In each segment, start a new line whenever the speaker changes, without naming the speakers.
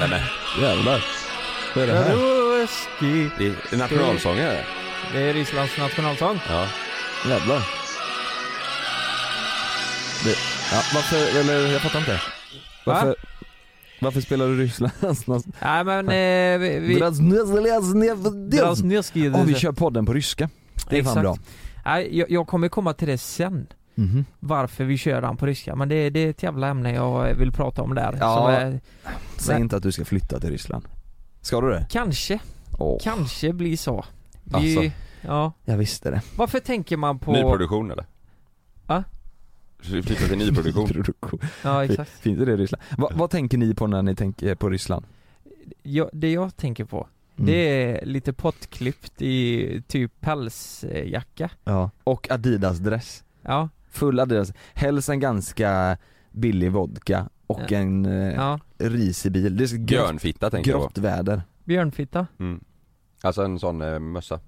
Nej men,
Jävlar.
vad är det här?
Ruski.
Det är nationalsångare.
Det är Rysslands nationalsång.
Ja.
Jävlar.
Det, ja, varför, eller jag fattar inte. Varför, varför spelar du Rysslands nationalsång?
Nej men eh, vi... vi Drasnevskij.
Om vi kör podden på ryska. Det är fan
Exakt.
bra.
Nej, jag, jag kommer komma till det sen.
Mhm.
Varför vi kör den på ryska. Men det, det är ett jävla ämne jag vill prata om där. eh,
Ja.
Som är,
Säg
Nej.
inte att du ska flytta till Ryssland. Ska du det?
kanske,
Åh,
kanske blir så. Vi,
Alltså.
ja.
jag visste det.
Varför tänker man på...
Nyproduktion eller?
Va?
Flytta till nyproduktion. Produktion.
Ja exakt.
Finns det i Ryssland? Va, vad tänker ni på när ni tänker på Ryssland?
Jag, det jag tänker på,
Mm.
det är lite pottklippt i typ pälsjacka.
Ja. Och Adidas-dress.
Ja,
Full Adidas, helst en ganska billig vodka och
Ja.
en eh,
ja.
risig bil. Det är så grått,
Björnfitta tänker jag på.
grått väder.
Björnfitta.
Mm. Alltså en sån eh, mössa.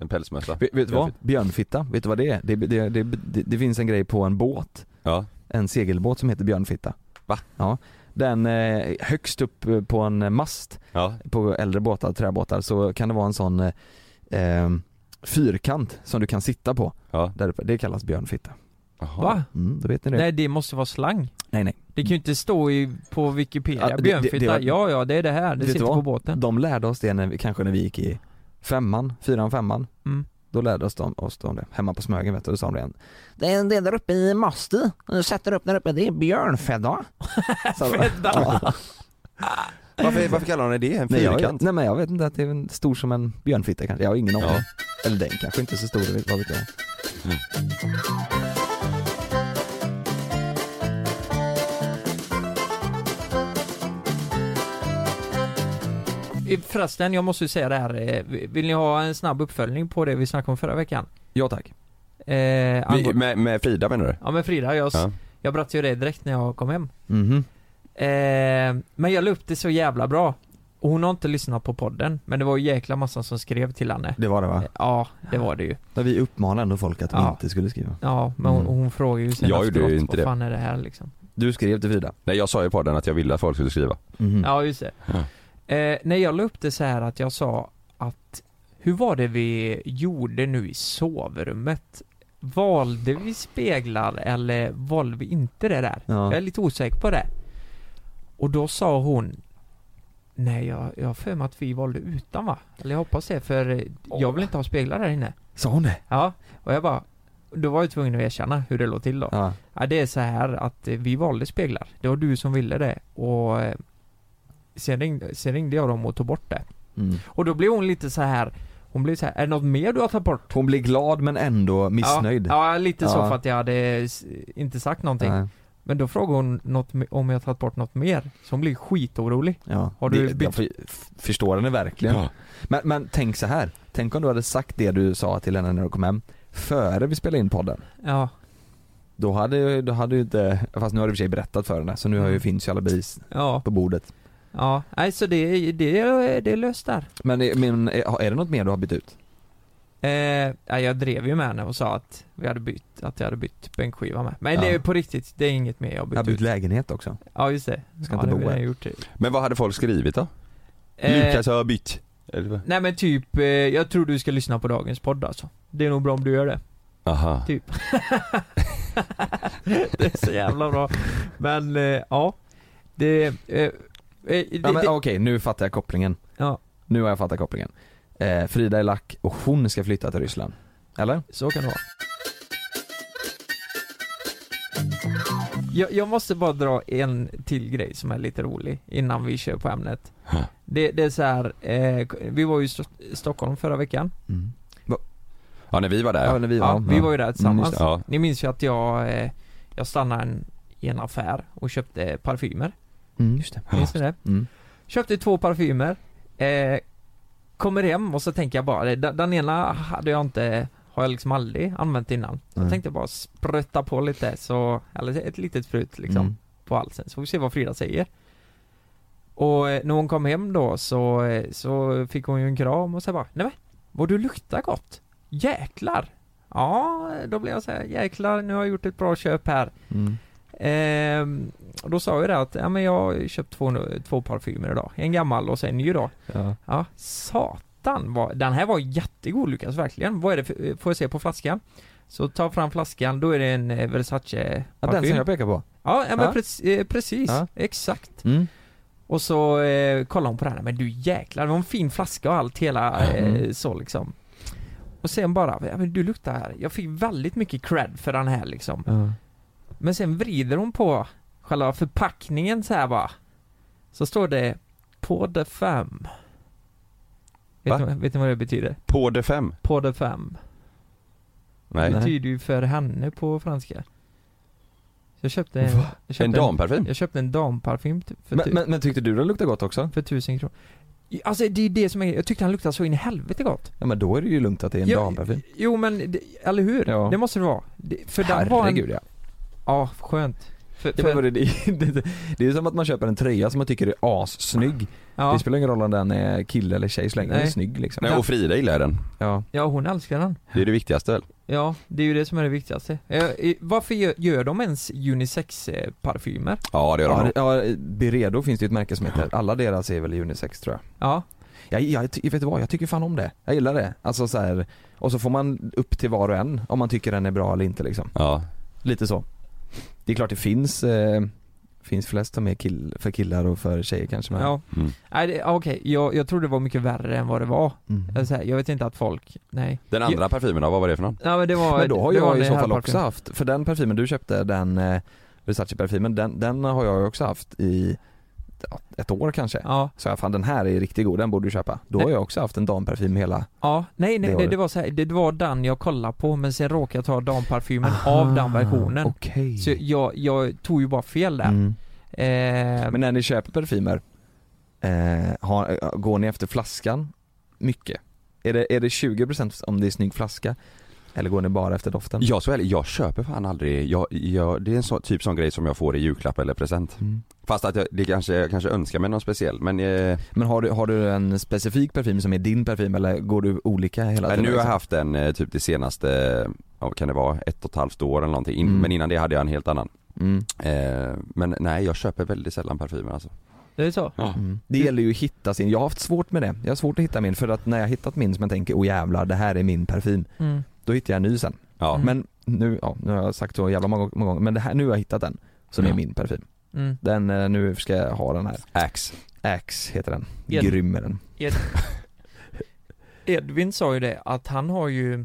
En pälsmössa.
Vet, vet du vad? Björnfitta, vet du vad det är? Det, det, det, det, det finns en grej på en båt,
Ja.
en segelbåt som heter björnfitta.
Va?
Ja. Den eh, högst upp eh, på en mast
Ja.
på äldre båtar, träbåtar, så kan det vara en sån eh, eh, fyrkant som du kan sitta på.
Ja.
Där uppe. Det kallas björnfitta.
Jaha.
Va?
Mm, då vet ni det.
Nej det måste vara slang.
nej. nej.
Det kan ju inte stå i, på Wikipedia,
Ja, det-
björnfitta,
det- det var-
ja ja det är det här, det
Vet du
sitter
vad?
på båten.
De lärde oss det när vi, kanske när vi gick i femman, fyran, femman
Mm.
Då lärde oss de, oss de det, hemma på Smögen vet du, då sa de det Det är en del där uppe i Masti, du sätter upp där uppe, det är björnfedda Sa de. Ja.
Varför, varför kallar han det det? En
nej, jag,
fyrkant?
nej men jag vet inte, att det är en stor som en björnfitta kanske, jag har ingen aning
Ja.
Eller den kanske inte är så stor, vad vet jag
Eh, Förresten, jag måste ju säga det här, eh, vill ni ha en snabb uppföljning på det vi snackade om förra veckan?
Ja tack
Eh,
Vi,
angående-
med, med Frida menar du?
Ja men Frida, jag, s-
Ja.
jag berättade ju det direkt när jag kom hem.
Mhm,
Eh, men jag la upp det så jävla bra. Och hon har inte lyssnat på podden, men det var ju jäkla massa som skrev till henne.
det var det va?
Eh, Ja, det var det ju.
Där vi uppmanade ändå folk att de
Ja.
inte skulle skriva
Ja, men hon,
Mm.
hon frågar ju sen
Jag gjorde ju
efteråt,
inte
vad
det.
fan är det här liksom?
Du skrev till Frida?
Nej jag sa ju på den att jag ville att folk skulle skriva.
Mhm.
Ja, just det. Eh, när jag la upp det så här att jag sa att hur var det vi gjorde nu i sovrummet? Valde vi speglar eller valde vi inte det där?
Ja.
Jag är lite osäker på det. Och då sa hon Nej, jag, jag har för mig att vi valde utan va? Eller jag hoppas det, för eh, jag vill inte ha speglar där inne.
Sa hon det?
Ja, och jag bara Då var jag tvungen att erkänna hur det låg till då.
Ja,
Ja, det är så här att eh, vi valde speglar. Det var du som ville det och eh, sen ringde, sen ringde jag dem och tog bort det.
mm.
Och då blev hon lite så här hon blev så här, är det något mer du har tagit bort?
Hon blir glad men ändå missnöjd
Ja, ja lite så
Ja.
för att jag hade s- inte sagt någonting.
Nej.
Men då frågade hon något, me- om jag tagit bort något mer. Så hon blev skitorolig.
Ja,
Har du
det,
bytt-
jag för, f- förstår henne verkligen. Men, men tänk så här. tänk om du hade sagt det du sa till henne när du kom hem före vi spelade in podden.
Ja,
Då hade, då hade ju inte, fast nu har du i och för sig berättat för henne så nu har ju, finns ju alla bevis
ja,
på bordet.
ja. Nej, så det, det, det är löst där.
Men, är- men är är det något mer du har bytt ut?
Eh, ja, jag drev ju med henne och sa att vi hade bytt, att jag hade bytt bänkskiva med. Men det
Ja.
är på riktigt, det är inget mer jag har
Jag har
bytt
bytt
ut.
lägenhet också.
Ja just det.
Ska
ja,
inte
det
bo
vill
här.
jag gjort.
Men vad hade folk skrivit då?
Eh,
Lukas har bytt. Eller vad?
Nej men typ, eh, jag tror du ska lyssna på dagens podd alltså. Det är nog bra om du gör det.
Aha.
Typ. det är så jävla bra. Men eh, ja, det... Eh, eh, det,
Ja, men,
det
Okej, nu fattar jag kopplingen.
Ja.
Nu har jag fattat kopplingen. Eh, Frida är lack och hon ska flytta till Ryssland. Eller?
så kan det vara. Jag, jag måste bara dra en till grej som är lite rolig innan vi kör på ämnet. Det, det är så här, eh, vi var ju i Sto- Stockholm förra veckan.
Ja när vi var där
Ja,
ja.
när vi var, Mm.
Ja, vi var ju där tillsammans.
det. Ja.
Ni minns ju att jag, eh, jag stannade en, i en affär och köpte parfymer.
Mm, just det.
Minns ni det?
Mm.
Köpte två parfymer eh, Kommer hem och så tänker jag bara, den, den ena hade jag inte Har jag liksom aldrig använt innan Så
Nej.
jag tänkte bara sprötta på lite så, eller ett litet sprut liksom
Mm.
på halsen så får vi se vad Frida säger Och eh, när hon kom hem då så, eh, så fick hon ju en kram och så bara Nej men, vad du luktar gott! Jäklar! Ja, då blev jag så här, jäklar nu har jag gjort ett bra köp här
Mm.
Ehm, och då sa jag det att, ja men jag har köpt två, två parfymer idag. En gammal och sen en ny idag.
Ja.
Ja, satan vad, den här var jättegod Lukas, verkligen. Vad är det för, eh, får jag se på flaskan? Så ta fram flaskan, då är det en eh, Versace
Ja, den som
parfym.
jag pekar på.
Ja, ja men
Ja.
preci- eh, precis,
Ja.
exakt.
Mm.
Och så eh, kollade hon på den här, men du jäklar, det var en fin flaska och allt hela eh,
Mm.
så liksom. Och sen bara, ja men du luktar här. Jag fick väldigt mycket cred för den här liksom. Men sen vrider hon på själva förpackningen så här bara. Så står det på de fem.
Va?
Vet ni, vet ni vad det betyder?
På de fem?
På de fem.
Nej.
Det betyder ju för henne på franska. Jag köpte en,
Va?
jag köpte
En damparfym?
Jag köpte en damparfym t- för, typ-
Men,
tu,
men, men tyckte du den luktade gott också?
för tusen kronor. I- Alltså det är ju det som är Jag tyckte han luktade så in i helvete gott.
Ja men då är det ju lugnt att det är en
Ja,
damparfym.
Jo men, det, eller hur?
Ja.
Det måste det vara. Det, för den var en,
Herregud ja.
Ja, skönt. För,
Ja, men vadå, det, det, det, det är som att man köper en tröja som man tycker är assnygg.
ja,
Det spelar ingen roll om den är kille eller tjej så länge den är
Nej.
snygg liksom.
Nej och Frida gillar den.
Ja.
ja, hon älskar den.
Det är det viktigaste väl?
Ja, det är ju det som är det viktigaste. Eh, eh, Varför gör, gör de ens unisex-parfymer?
Ja det gör
Ja,
de
det- ja, Beredo finns det ju ett märke som heter. Alla deras är väl unisex tror jag.
Ja,
Jag, jag, ty- vet du vad, jag tycker fan om det. Jag gillar det. Alltså så här, och så får man upp till var och en om man tycker den är bra eller inte liksom.
Ja.
Lite så. Det är klart det finns, eh, finns flest som är kill, för killar och för tjejer kanske men.
ja.
Mm.
Nej, det- ja, okej, jag, jag tror det var mycket värre än vad det var.
Mm.
Eller så här, Jag vet inte att folk, nej.
Den andra parfymen då, vad var det för någon?
Nej men det var...
Men då har
det var
jag i
det
så
här
fall också
parfym.
haft, för den parfymen du köpte, den eh, Versace-parfymen, den, den har jag ju också haft i ja, ett år kanske.
Ja,
Så jag fan den här är riktigt god, den borde du köpa. Då har jag också haft en damparfym hela
ja, nej nej
Det var
det var,
det.
det, var så här, det var den jag kollade på men sen råkade jag ta damparfymen av den versionen.
Ah, Okej.
Så jag, jag tog ju bara fel där.
Mm.
Eh,
Men när ni köper parfymer, eh, har, går ni efter flaskan mycket? Är det, är det 20% om det är snygg flaska? Eller går ni bara efter doften?
Jag så ärlig, jag köper fan aldrig, jag, jag, det är en så, typ sån grej som jag får i julklapp eller present.
Mm.
Fast att jag, det kanske, jag kanske önskar mig någon speciell men eh,
Men har du, har du en specifik parfym som är din parfym eller går du olika hela
Nej,
tiden?
nu har jag
liksom?
haft en eh, typ det senaste, eh, ja, vad kan det vara, ett och ett halvt år eller någonting. In,
Mm.
Men innan det hade jag en helt annan.
Mm.
Eh, men nej, jag köper väldigt sällan parfymer alltså.
det är så?
Mm. Det gäller ju att hitta sin, jag har haft svårt med det. Jag har svårt att hitta min för att när jag hittat min som jag tänker åh jävlar det här är min parfym.
Mm.
Då hittar jag en ny sen.
Ja.
Mm.
Men nu, ja, nu har jag sagt så jävla många, många gånger men det här, nu har jag hittat den som är
Ja.
min parfym.
Mm.
Den, eh, nu ska jag ha den här.
Axe.
Axe heter den.
Gen-
Grym är den.
Edvin sa ju det att han har ju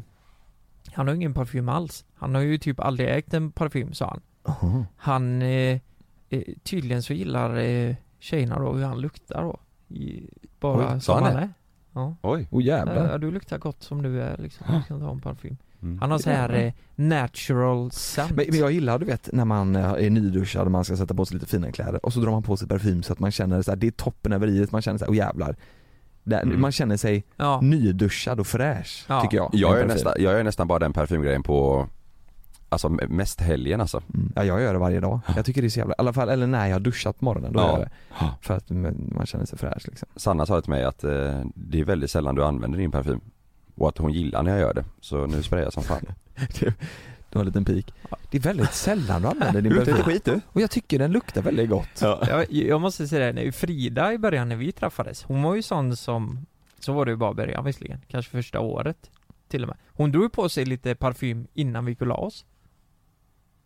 Han har ju ingen parfym alls Han har ju typ aldrig ägt en parfym sa han Han eh, eh, Tydligen så gillar eh, tjejerna då hur han luktar då I, Bara
Oj, sa
som
han
han
det?
är Ja,
Oj.
Åh jävlar.
ja du luktar gott som du är liksom, du kan ta en parfym
Mm.
Han har så här eh, natural scent
Men, men jag gillar du vet när man eh, är nyduschad och man ska sätta på sig lite fina kläder och så drar man på sig parfym så att man känner så här, det är toppen över iet, man känner så här, åh jävlar. Där,
Mm.
Man känner sig
Ja,
nyduschad och fräsch
Ja.
tycker jag.
Jag
med
är,
parfym.
nästan, jag är nästan bara den parfymgrejen på, alltså m- mest helgen alltså.
Mm. Ja jag gör det varje dag. Jag tycker det är så jävla, i alla fall, eller när jag har duschat på morgonen, då
Ja.
gör jag det. För att men, man känner sig fräsch liksom.
Sanna sa till mig att eh, det är väldigt sällan du använder din parfym. Och att hon gillar när jag gör det. Så nu sprayar jag som fan.
Det var en liten pik. Det är väldigt sällan du använder din
luktar
parfym.
lite skit, du.
Och jag tycker den luktar väldigt gott.
jag, jag måste säga det, när Frida i början när vi träffades Hon var ju sån som Så var det ju bara i början visserligen, kanske första året till och med. Hon drog ju på sig lite parfym innan vi gick och la oss.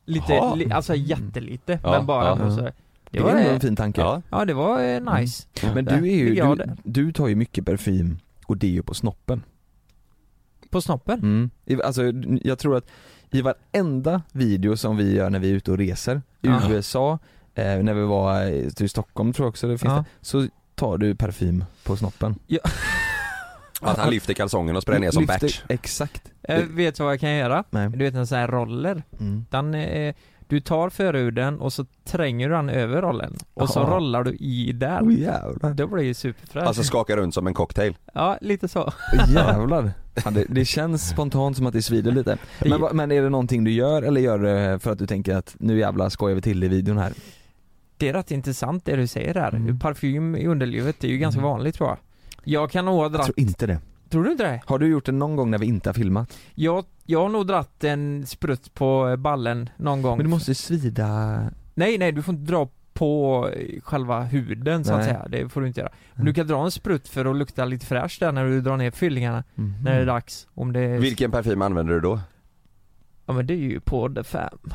Lite,
Jaha.
li, alltså jättelite,
Ja,
men bara
ja.
på så här.
Det
Det
är
var,
ändå en
eh,
fin tanke.
Ja.
ja det var eh, nice.
Men du är ju,
Ligger jag
du,
där.
du tar ju mycket parfym och deo på snoppen.
På snoppen.
Mm. I- Alltså jag tror att i varenda video som vi gör när vi är ute och reser, i
Ja.
USA, eh, när vi var i i Stockholm tror jag också det finns
Ja.
det, så tar du parfym på snoppen.
Att han lyfter kalsongen och sprayar ner som
Lyfter-
Bert.
Exakt.
Eh, vet du vad jag kan göra?
Nej.
Du vet en sån här roller.
Mm.
Den, eh, du tar förhuden och så tränger du den över rollen. Och så
Ja.
rollar du i där.
Oh, jävlar.
Då blir det ju superfräscht.
Alltså skakar runt som en cocktail.
ja, lite så.
jävlar. Ja, det, det känns spontant som att det svider lite.
Det-
Men, vad- men är det någonting du gör eller gör du det för att du tänker att nu jävlar skojar vi till i videon här?
Det är rätt intressant det du säger där.
Mm.
Parfym i underlivet det är ju ganska
Mm.
vanligt tror jag. Jag kan nog ha
Jag
dratt,
tror inte det.
tror du inte det?
Har du gjort det någon gång när vi inte har filmat?
Jag, jag har nog dratt en sprutt på eh, ballen någon gång.
Men du måste ju svida
Nej, nej, du får inte dra på eh, själva huden så att
Nej. Mm.
säga. Det får du inte göra. Men
Nej.
du kan dra en sprutt för att lukta lite fräscht där när du drar ner fyllningarna.
Mhm.
När det är
Mm.
dags. Om det är...
Vilken parfym använder du då?
Ja men det är ju på the fam.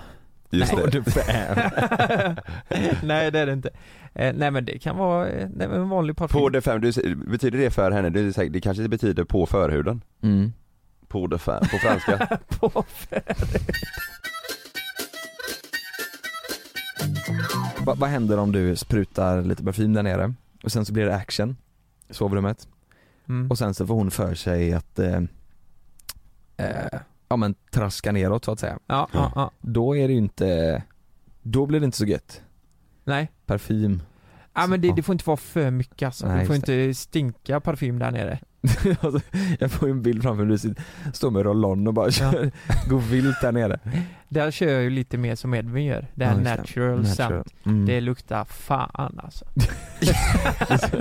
Just
Nej.
det.
nej det är det inte. Eh, nej men det kan vara eh, nej, men en vanlig parfym.
På de fem, du, betyder det för henne? Du, är säker- det kanske betyder på förhuden?
Mm.
På de fem, på franska?
på
Va, vad händer om du sprutar lite parfym där nere och sen så blir det action i sovrummet
mm.
och sen så får hon för sig att eh, eh, ja men traska neråt så att säga.
ja, ja, ja.
Då är det ju inte, då blir det inte så gött.
Nej.
Parfym.
Ja men det, det får inte vara för mycket alltså.
Nej,
Du får
just
inte stinka parfym där nere.
Alltså, jag får ju en bild framför mig, du sitter- står med roll-on och bara kör, går vilt där nere.
Där kör jag ju lite mer som Edvin gör. Det
Ja,
här
just det.
natural, scent.
Mm.
Det luktar fan alltså.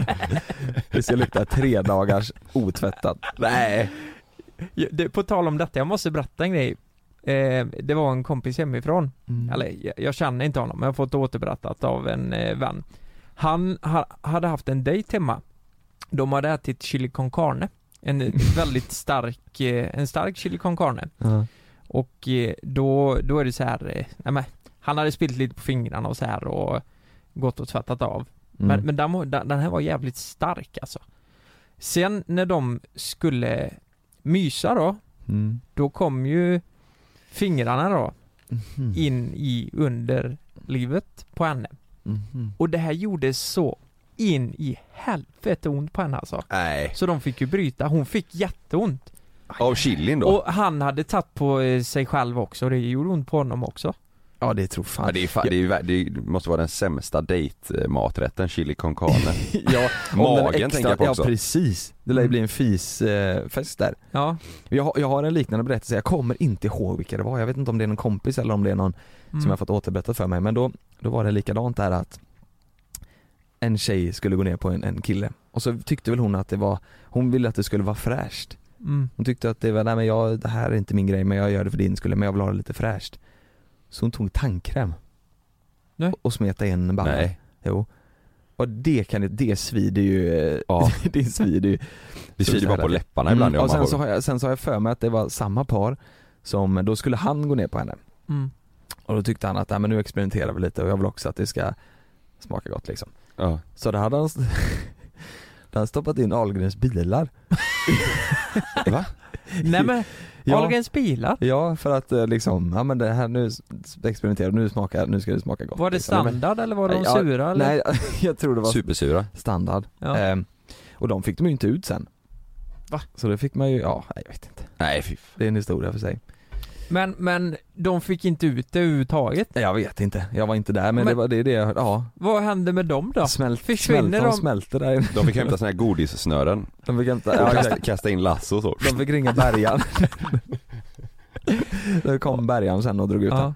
Det ska lukta tre dagars otvättat.
Nej!
Ja, det, på tal om detta, jag måste berätta en grej. Eh, det var en kompis hemifrån,
Mm.
eller jag, jag känner inte honom, men jag har fått återberättat av en eh, vän. Han ha, hade haft en dejt hemma. De hade ätit chili con carne. En väldigt stark, eh, en stark chili con carne.
Ja.
Och eh, då, då är det så här, eh, nej men, han hade spillt lite på fingrarna och så här och gått och tvättat av.
Mm.
Men, men den, var- den den här var jävligt stark alltså. Sen när de skulle mysa då,
Mm.
då kom ju fingrarna då
Mhm.
in i underlivet på henne.
Mhm.
Och det här gjorde så in i helvete ont på henne alltså.
Nej.
Så de fick ju bryta, hon fick jätteont.
Av chilin då?
Och han hade tagit på eh, sig själv också och det gjorde ont på honom också.
Ja det tror fan
Ja, det, är fa- det, är, ju vär- det måste vara den sämsta dejtmaträtten, chili con carne.
Ja, om den
Magen tänker jag på också.
Ja precis, det
Mm.
lär ju bli en fisfest där.
Ja.
Jag, har- jag har en liknande berättelse, jag kommer inte ihåg vilka det var, jag vet inte om det är någon kompis eller om det är någon
Mm.
som jag fått återberättat för mig men då, då var det likadant där att en tjej skulle gå ner på en, en kille och så tyckte väl hon att det var, hon ville att det skulle vara fräscht.
mm.
Hon tyckte att det var, nej men jag, det här är inte min grej men jag gör det för din skull men jag vill ha det lite fräscht. Så hon tog tandkräm.
Nej.
Och smetade in bara.
Nej.
Jo. Och det kan ju, det svider ju, eh,
Ja.
det svider ju.
Det svider bara på läpparna ibland
Mm,
om
och
man
sen
har-
så, har jag, sen så har jag för mig att det var samma par som, då skulle han gå ner på henne.
Mm.
Och då tyckte han att, nej men nu experimenterar vi lite och jag vill också att det ska smaka gott liksom.
ja.
Så då hade han, st- då hade han stoppat in Ahlgrens bilar.
Va?
Nej men,
Ja.
Ahlgrens bilar.
Ja, för att eh, liksom, ja men det här nu s- experimenterar nu smakar, nu ska det smaka gott.
Var det
liksom. Men-
standard eller var de
Ja,
sura eller?
Nej, jag tror det var
Supersura.
standard.
Ja.
Ehm, och de fick de ju inte ut sen.
Va?
Så det fick man ju, ja, nej, jag vet inte.
Nej fy fan.
Det är en historia för sig.
Men, men de fick inte ut det överhuvudtaget.
Nej, Jag vet inte, jag var inte där men,
Men-
det var det, är det jag hörde, ja.
Vad hände med dem då?
Smält,
Försvinner
smält, de
de?
smälter där inne.
De fick hämta såna här godissnören
De fick hämta,
och
ja,
kasta,
exakt.
kasta in lasso så.
De fick ringa bärgaren. Då kom bärgaren sen och drog ut den.
Ja.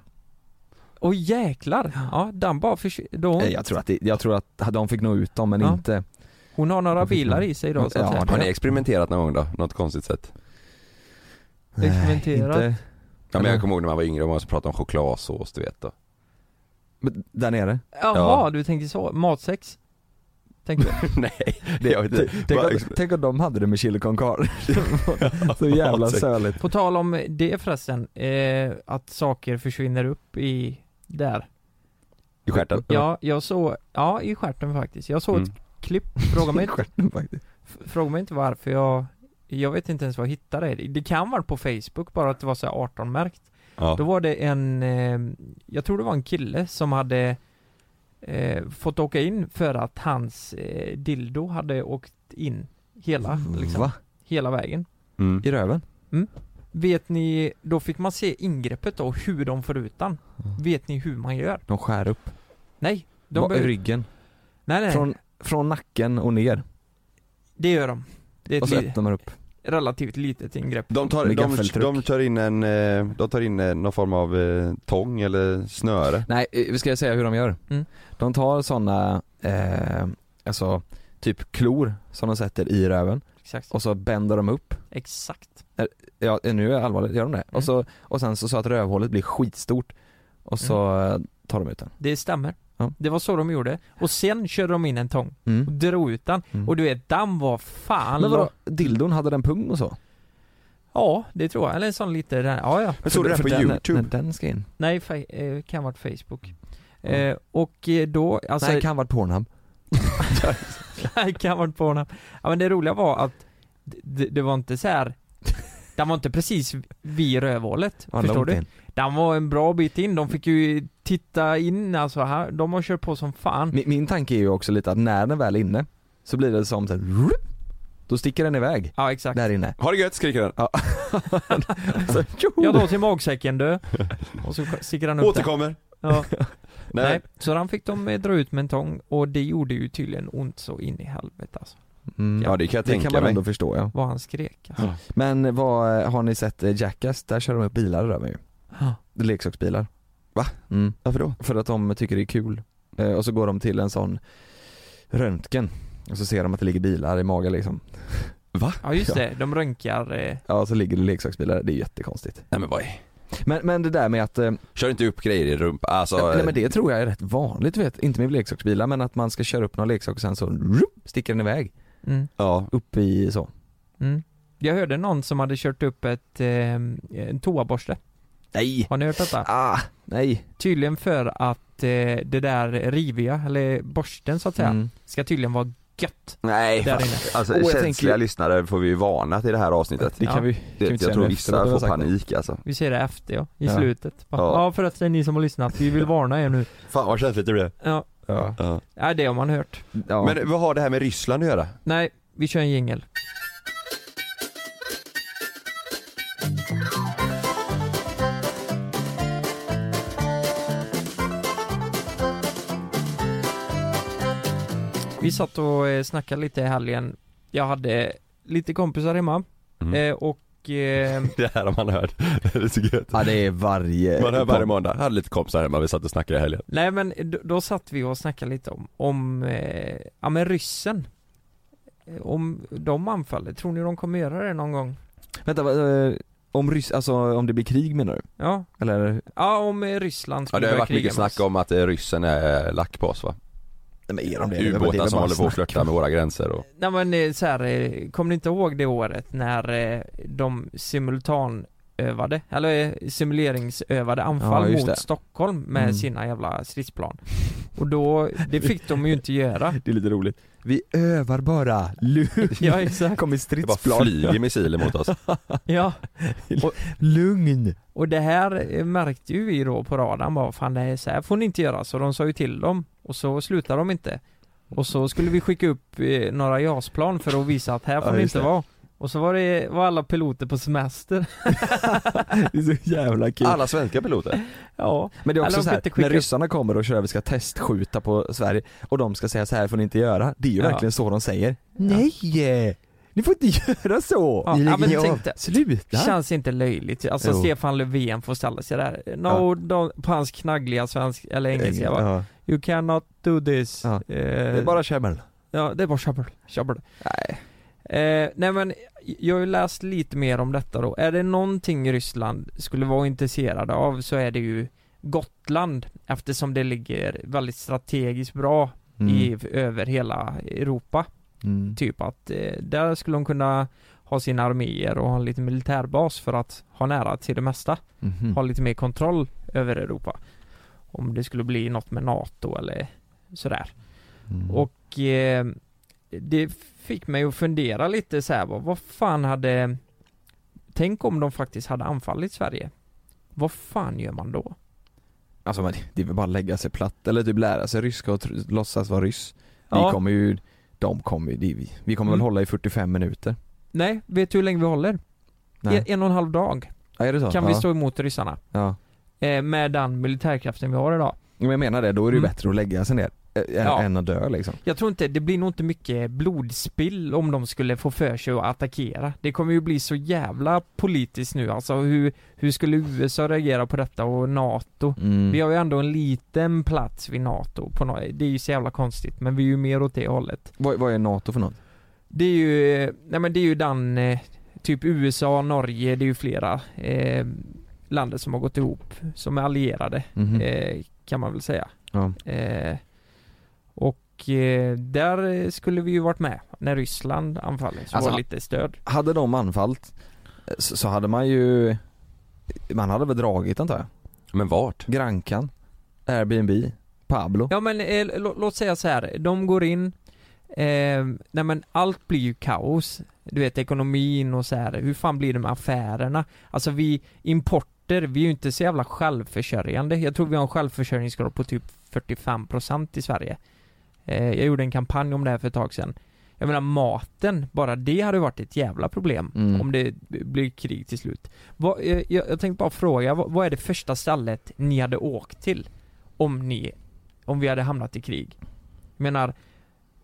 Och jäklar! Ja, den bara försv- då
Nej,
hon,
Jag tror att, det, jag tror att de fick nå ut dem men
Ja.
inte
hon har några
de fick
bilar
nog-
i sig då så
Ja,
att
Har
säga.
ni experimenterat någon gång då? Något konstigt sätt?
Nej,
Experimenterat.
inte-
Ja men jag kommer ihåg när man var yngre och man pratade om chokladsås du vet då.
Men Där nere?
Jaha,
Ja.
du tänker så. Matsex? Tänk det.
Nej, det gör jag inte.
Tänk,
Bara-
om, tänk om de hade det med chili con carne. Så jävla söligt.
På tal om det förresten, eh, att saker försvinner upp i där.
I stjärten?
Ja, jag såg, ja i stjärten faktiskt. Jag såg
Mm.
ett klipp, fråga mig,
Stjärten faktiskt.
f- fråga mig inte varför jag, jag vet inte ens var jag hittade det. Det kan vara på Facebook bara att det var så här 18-märkt.
Ja.
Då var det en, eh, jag tror det var en kille som hade eh, fått åka in för att hans eh, dildo hade åkt in hela, liksom,
Va?
hela vägen.
Mm.
I röven?
Vet ni, då fick man se ingreppet då, hur de får ut den.
Mm.
Vet ni hur man gör?
De skär upp.
Nej, de
Ba-
behöver-
ryggen.
nej, nej,
Från, från nacken och ner.
det gör de. Det är
Och
ett
så
li-
äter de upp.
relativt litet ingrepp.
De tar,
Med
de,
gaffeltryck.
de tar in en, eh, de tar in eh, någon form av eh, tång eller snöre.
Nej, eh, vi ska jag säga hur de gör?
Mm.
De tar sådana, eh, alltså typ klor som de sätter i röven
Exakt.
och så bänder de upp,
Exakt.
ja eh, nu är jag allvarlig, gör de det? Och, så, och sen så, så att rövhålet blir skitstort och så eh, tar de ut den.
Det stämmer.
Ja.
Det var så de gjorde. Och sen körde de in en tång
Mm.
och drog ut den.
Mm.
Och du vet, den var fan
Men
lång.
vadå, dildon hade den pung och så?
Ja, det tror jag. Eller en sån liten, ja ja.
Men såg du det här
För
på
den-
youtube?
När den ska in?
Nej, fe- eh, kan varit Facebook. Eh, och eh, då, alltså,
Mm. Nej, kan varit Pornhub.
nej, kan varit på honom. Ja men det roliga var att d- d- det var inte så här. den var inte precis vid rövhålet,
Ja,
förstår
långt
du?
in.
Den var en bra bit in, de fick ju titta in alltså, här, de har kört på som fan.
Min, min tanke är ju också lite att när den väl är inne så blir det som såhär, då sticker den iväg
Ja exakt.
där inne.
Ha det gött skriker den.
Så, tjoho!
Jag drar till magsäcken du. Och så sticker han upp den.
Återkommer.
Ja.
Nej.
Nej, så den fick de eh, dra ut med en tång och det gjorde ju tydligen ont så in i helvete alltså.
mm.
Ja det kan jag
Det
tänka
kan man
mig.
ändå förstå ja.
Vad han skrek alltså.
Men vad, har ni sett eh, Jackass? Där kör de upp bilar över ju.
Ja.
Leksaksbilar.
Va?
Mm.
Varför då?
För att de tycker det är kul. Eh, och så går de till en sån röntgen. Och så ser de att det ligger bilar i magen liksom.
Ja just det, de röntgar, eh,
Ja, så ligger det leksaksbilar där. Det är jättekonstigt.
Nej men vad är...
Men, men det där med att, eh,
Kör inte upp grejer i rumpan, alltså.
nej, men det tror jag är rätt vanligt vet, inte med leksaksbilar men att man ska köra upp någon leksak och sen så rup, sticker den iväg.
mm,
Ja.
Upp i så.
mm. Jag hörde någon som hade kört upp ett, eh, en toaborste,
Nej!
har ni hört detta?
Ah, nej.
Tydligen för att eh, det där riviga, eller borsten så att säga,
Mm.
ska tydligen vara gött
Nej.
där
fan.
inne.
Alltså
Och jag
känsliga
tänker-
lyssnare får vi ju varna till det här avsnittet.
Det kan
Ja.
vi, kan vi
Det,
inte
jag
säga
tror
nu efteråt,
vissa
vi har
får
sagt det.
panik alltså.
Vi ser det efter ja, i
Ja.
slutet. Bara,
Ja.
ja. förresten ni som har lyssnat, vi vill varna er nu.
Fan vad känsligt det blev.
Ja,
Ja.
Ja.
ja det har man hört.
Ja.
Men vad har det här med Ryssland att göra?
Nej, vi kör en jingel. Vi satt och eh, snackade lite i helgen. Jag hade lite kompisar hemma
Mm.
eh, och eh,
Det här har man hört. Det är så gött.
ja, det är varje...
Man hör varje måndag. Jag hade lite kompisar hemma, vi satt och snackade i helgen.
nej men då, då satt vi och snackade lite om, om eh, ja men ryssen. Eh, Om de anfaller, tror ni de kommer göra det någon gång?
Vänta, vad, eh, om ryss, alltså om det blir krig menar du?
Ja,
Eller?
Ja, om eh, Ryssland
Ja,
skulle
det har
börja
varit
kriga
mycket
med
snack
oss.
om att eh, ryssen är lack på oss va?
Nej men är de
Ubåtar som håller på att flörta med våra gränser och...
Nej men eh, så här, eh, kommer ni inte ihåg det året när eh, de simultanövade, eller eh, simuleringsövade
Ja,
anfall
just
mot
det.
Stockholm med
Mm.
sina jävla stridsplan? Och då, det fick de ju inte göra.
Det är lite roligt. Vi övar bara, lugn.
Ja exakt,
Kommer
Det bara
stridsplan.
flyger missiler mot oss.
ja.
Lugn.
Och det här eh, märkte ju vi då på radarn bara, fan det här, är så här får ni inte göra, så de sa ju till dem. Och så slutade de inte. Och så skulle vi skicka upp eh, några JAS-plan för att visa att här får
Ja,
ni
just
inte
det.
vara. Och så var, det, var alla piloter på semester.
Det är så jävla kul.
Alla svenska piloter.
Ja,
Men det är
Alla
också
de
så
får
här,
inte skicka
när
upp-
ryssarna kommer och kör vi ska testskjuta på Sverige och de ska säga så här får ni inte göra. Det är ju
Ja.
verkligen så de säger. Nej! Ni får inte göra så!
Ja,
Ni
ja,
lägger
men
ner
tänk
av.
dig.
Sluta!
känns inte löjligt. Alltså
Jo.
Stefan Löfven får ställa sig där. No,
Ja.
don't, på hans knaggliga svenska, eller engelska va? Eh,
Ja.
You cannot do this.
Ja.
Eh,
Det är bara käbbel.
Ja, det är bara tjabbel, tjabbel. Nej. Eh, nej men, jag har ju läst lite mer om detta då. Är det någonting Ryssland skulle vara intresserade av så är det ju Gotland eftersom det ligger väldigt strategiskt bra i, över hela Europa.
Mm.
Typ att eh, där skulle de kunna ha sina arméer och ha en liten militärbas för att ha nära till det mesta.
Mhm.
Ha lite mer kontroll över Europa. Om det skulle bli något med NATO eller sådär.
Mm.
Och eh, det fick mig att fundera lite så här, vad, vad fan hade Tänk om de faktiskt hade anfallit Sverige Vad fan gör man då?
Alltså men det är väl bara att lägga sig platt eller typ lära sig ryska och tr- låtsas vara ryss.
Ja.
Vi kommer ju, de kommer ju, det är vi, vi kommer
Mm.
väl hålla i 45 minuter.
Nej, vet du hur länge vi håller?
Nej.
En, en och en halv dag
Ja, är det så?
kan
ja.
vi stå emot ryssarna
Ja.
eh, Med den militärkraften vi har idag
Men jag menar det, då är det ju
Mm.
bättre att lägga sig ner ä- ä-
Ja.
än att dö liksom.
Jag tror inte, det blir nog inte mycket blodspill om de skulle få för sig att attackera Det kommer ju bli så jävla politiskt nu alltså hur, hur skulle USA reagera på detta och NATO?
Mm.
Mm. Vi har ju ändå en liten plats vid NATO på nå- Det är ju så jävla konstigt men vi är ju mer åt det hållet
Vad, vad är NATO för något?
Det är ju, eh, nej men det är ju den eh, Typ USA, Norge, det är ju flera eh, länder som har gått ihop som är allierade
Mhm.
eh, kan man väl säga
Ja.
eh, Och eh, där eh, skulle vi ju varit med när Ryssland anfaller så
Alltså,
var det lite stöd
Hade de anfallt eh, så, så hade man ju, man hade väl dragit antar jag?
Men vart?
Grankan, Airbnb, Pablo.
Ja men eh, lå- låt säga så här, de går in, eh, nej men allt blir ju kaos. Du vet ekonomin och så här, hur fan blir det med affärerna? Alltså vi importer, vi är ju inte så jävla självförsörjande. Jag tror vi har en självförsörjningsgrad på typ 45% i Sverige. Eh, jag gjorde en kampanj om det här för ett tag sedan. Jag menar maten, bara det hade varit ett jävla problem
Mm.
om det blir krig till slut. Vad, eh, jag, jag tänkte bara fråga, vad, vad är det första stället ni hade åkt till? Om ni, om vi hade hamnat i krig? Jag menar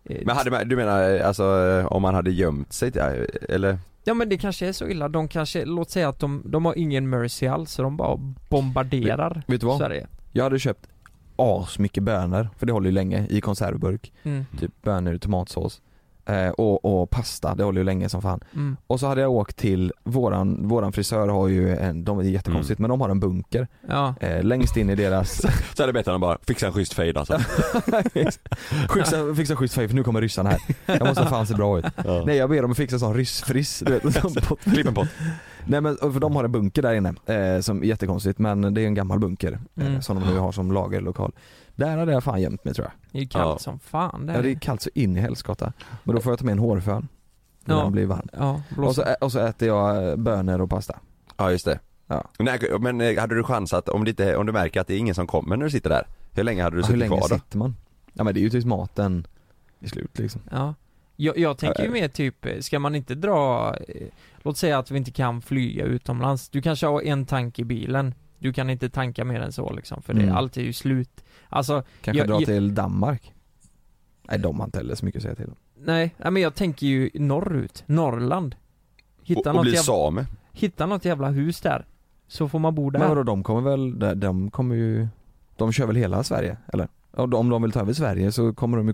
eh,
Men hade man, du menar eh, alltså eh, om man hade gömt sig till, eh, eller?
Ja men det kanske är så illa, de kanske, låt säga att de, de har ingen mercy alls så de bara bombarderar
Vet du vad?
Sverige
Jag hade köpt asmycket bönor, för det håller ju länge, i konservburk.
mm,
Typ bönor i tomatsås. Eh, och, och pasta, det håller ju länge som fan.
mm,
Och så hade jag åkt till, våran, våran frisör har ju en, de är jättekonstigt
Mm.
men de har en bunker
ja
eh, längst in i deras
Så är det bättre än att bara fixa en schysst fade alltså.
Fixa, fixa schysst färg för nu kommer ryssarna här. Jag måste fan se bra ut. Nej jag ber dem att fixa sån ryssfriss, du vet en sån pott.
Klipp en pott.
Nej men för de har en bunker där inne, eh, som är jättekonstigt men det är en gammal bunker eh,
Mm.
som de nu har som lagerlokal. Där hade jag fan gömt mig tror jag.
det är ju kallt
Ja.
som fan där.
Ja, det är kallt så in i helskotta. Men då får jag ta med en hårfön. När
Ja.
den blir varm.
ja
Och så,
blåsa.
ä- och så äter jag eh, bönor och pasta.
Ja just det.
Ja.
Nej, men eh, hade du chansat om, det inte, om du märker att det är ingen som kommer när du sitter där? Hur länge hade du
Ja, Hur
suttit
länge
kvar då?
sitter man? Ja men det är ju tills maten är slut liksom.
ja. jag, jag tänker ju mer typ, eh, ska man inte dra eh, Låt säga att vi inte kan flyga utomlands, du kanske har en tank i bilen Du kan inte tanka mer än så liksom för det,
Mm.
allt är ju slut Alltså
Kanske
Jag-
dra
jag-
till Danmark. Nej de har inte heller så mycket att säga till om.
Nej, nej, men jag tänker ju norrut, Norrland
Och,
Hitta,
och
något,
bli
jävla,
same?
hitta något jävla hus där Så får man bo där
Men vadå, de kommer väl, de- de kommer ju, de kör väl hela Sverige eller? Och Om de vill ta över Sverige så kommer de ju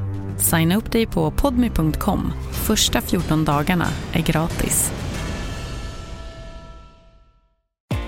Signa upp dig på podmi.com. Första 14 dagarna är gratis.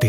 Det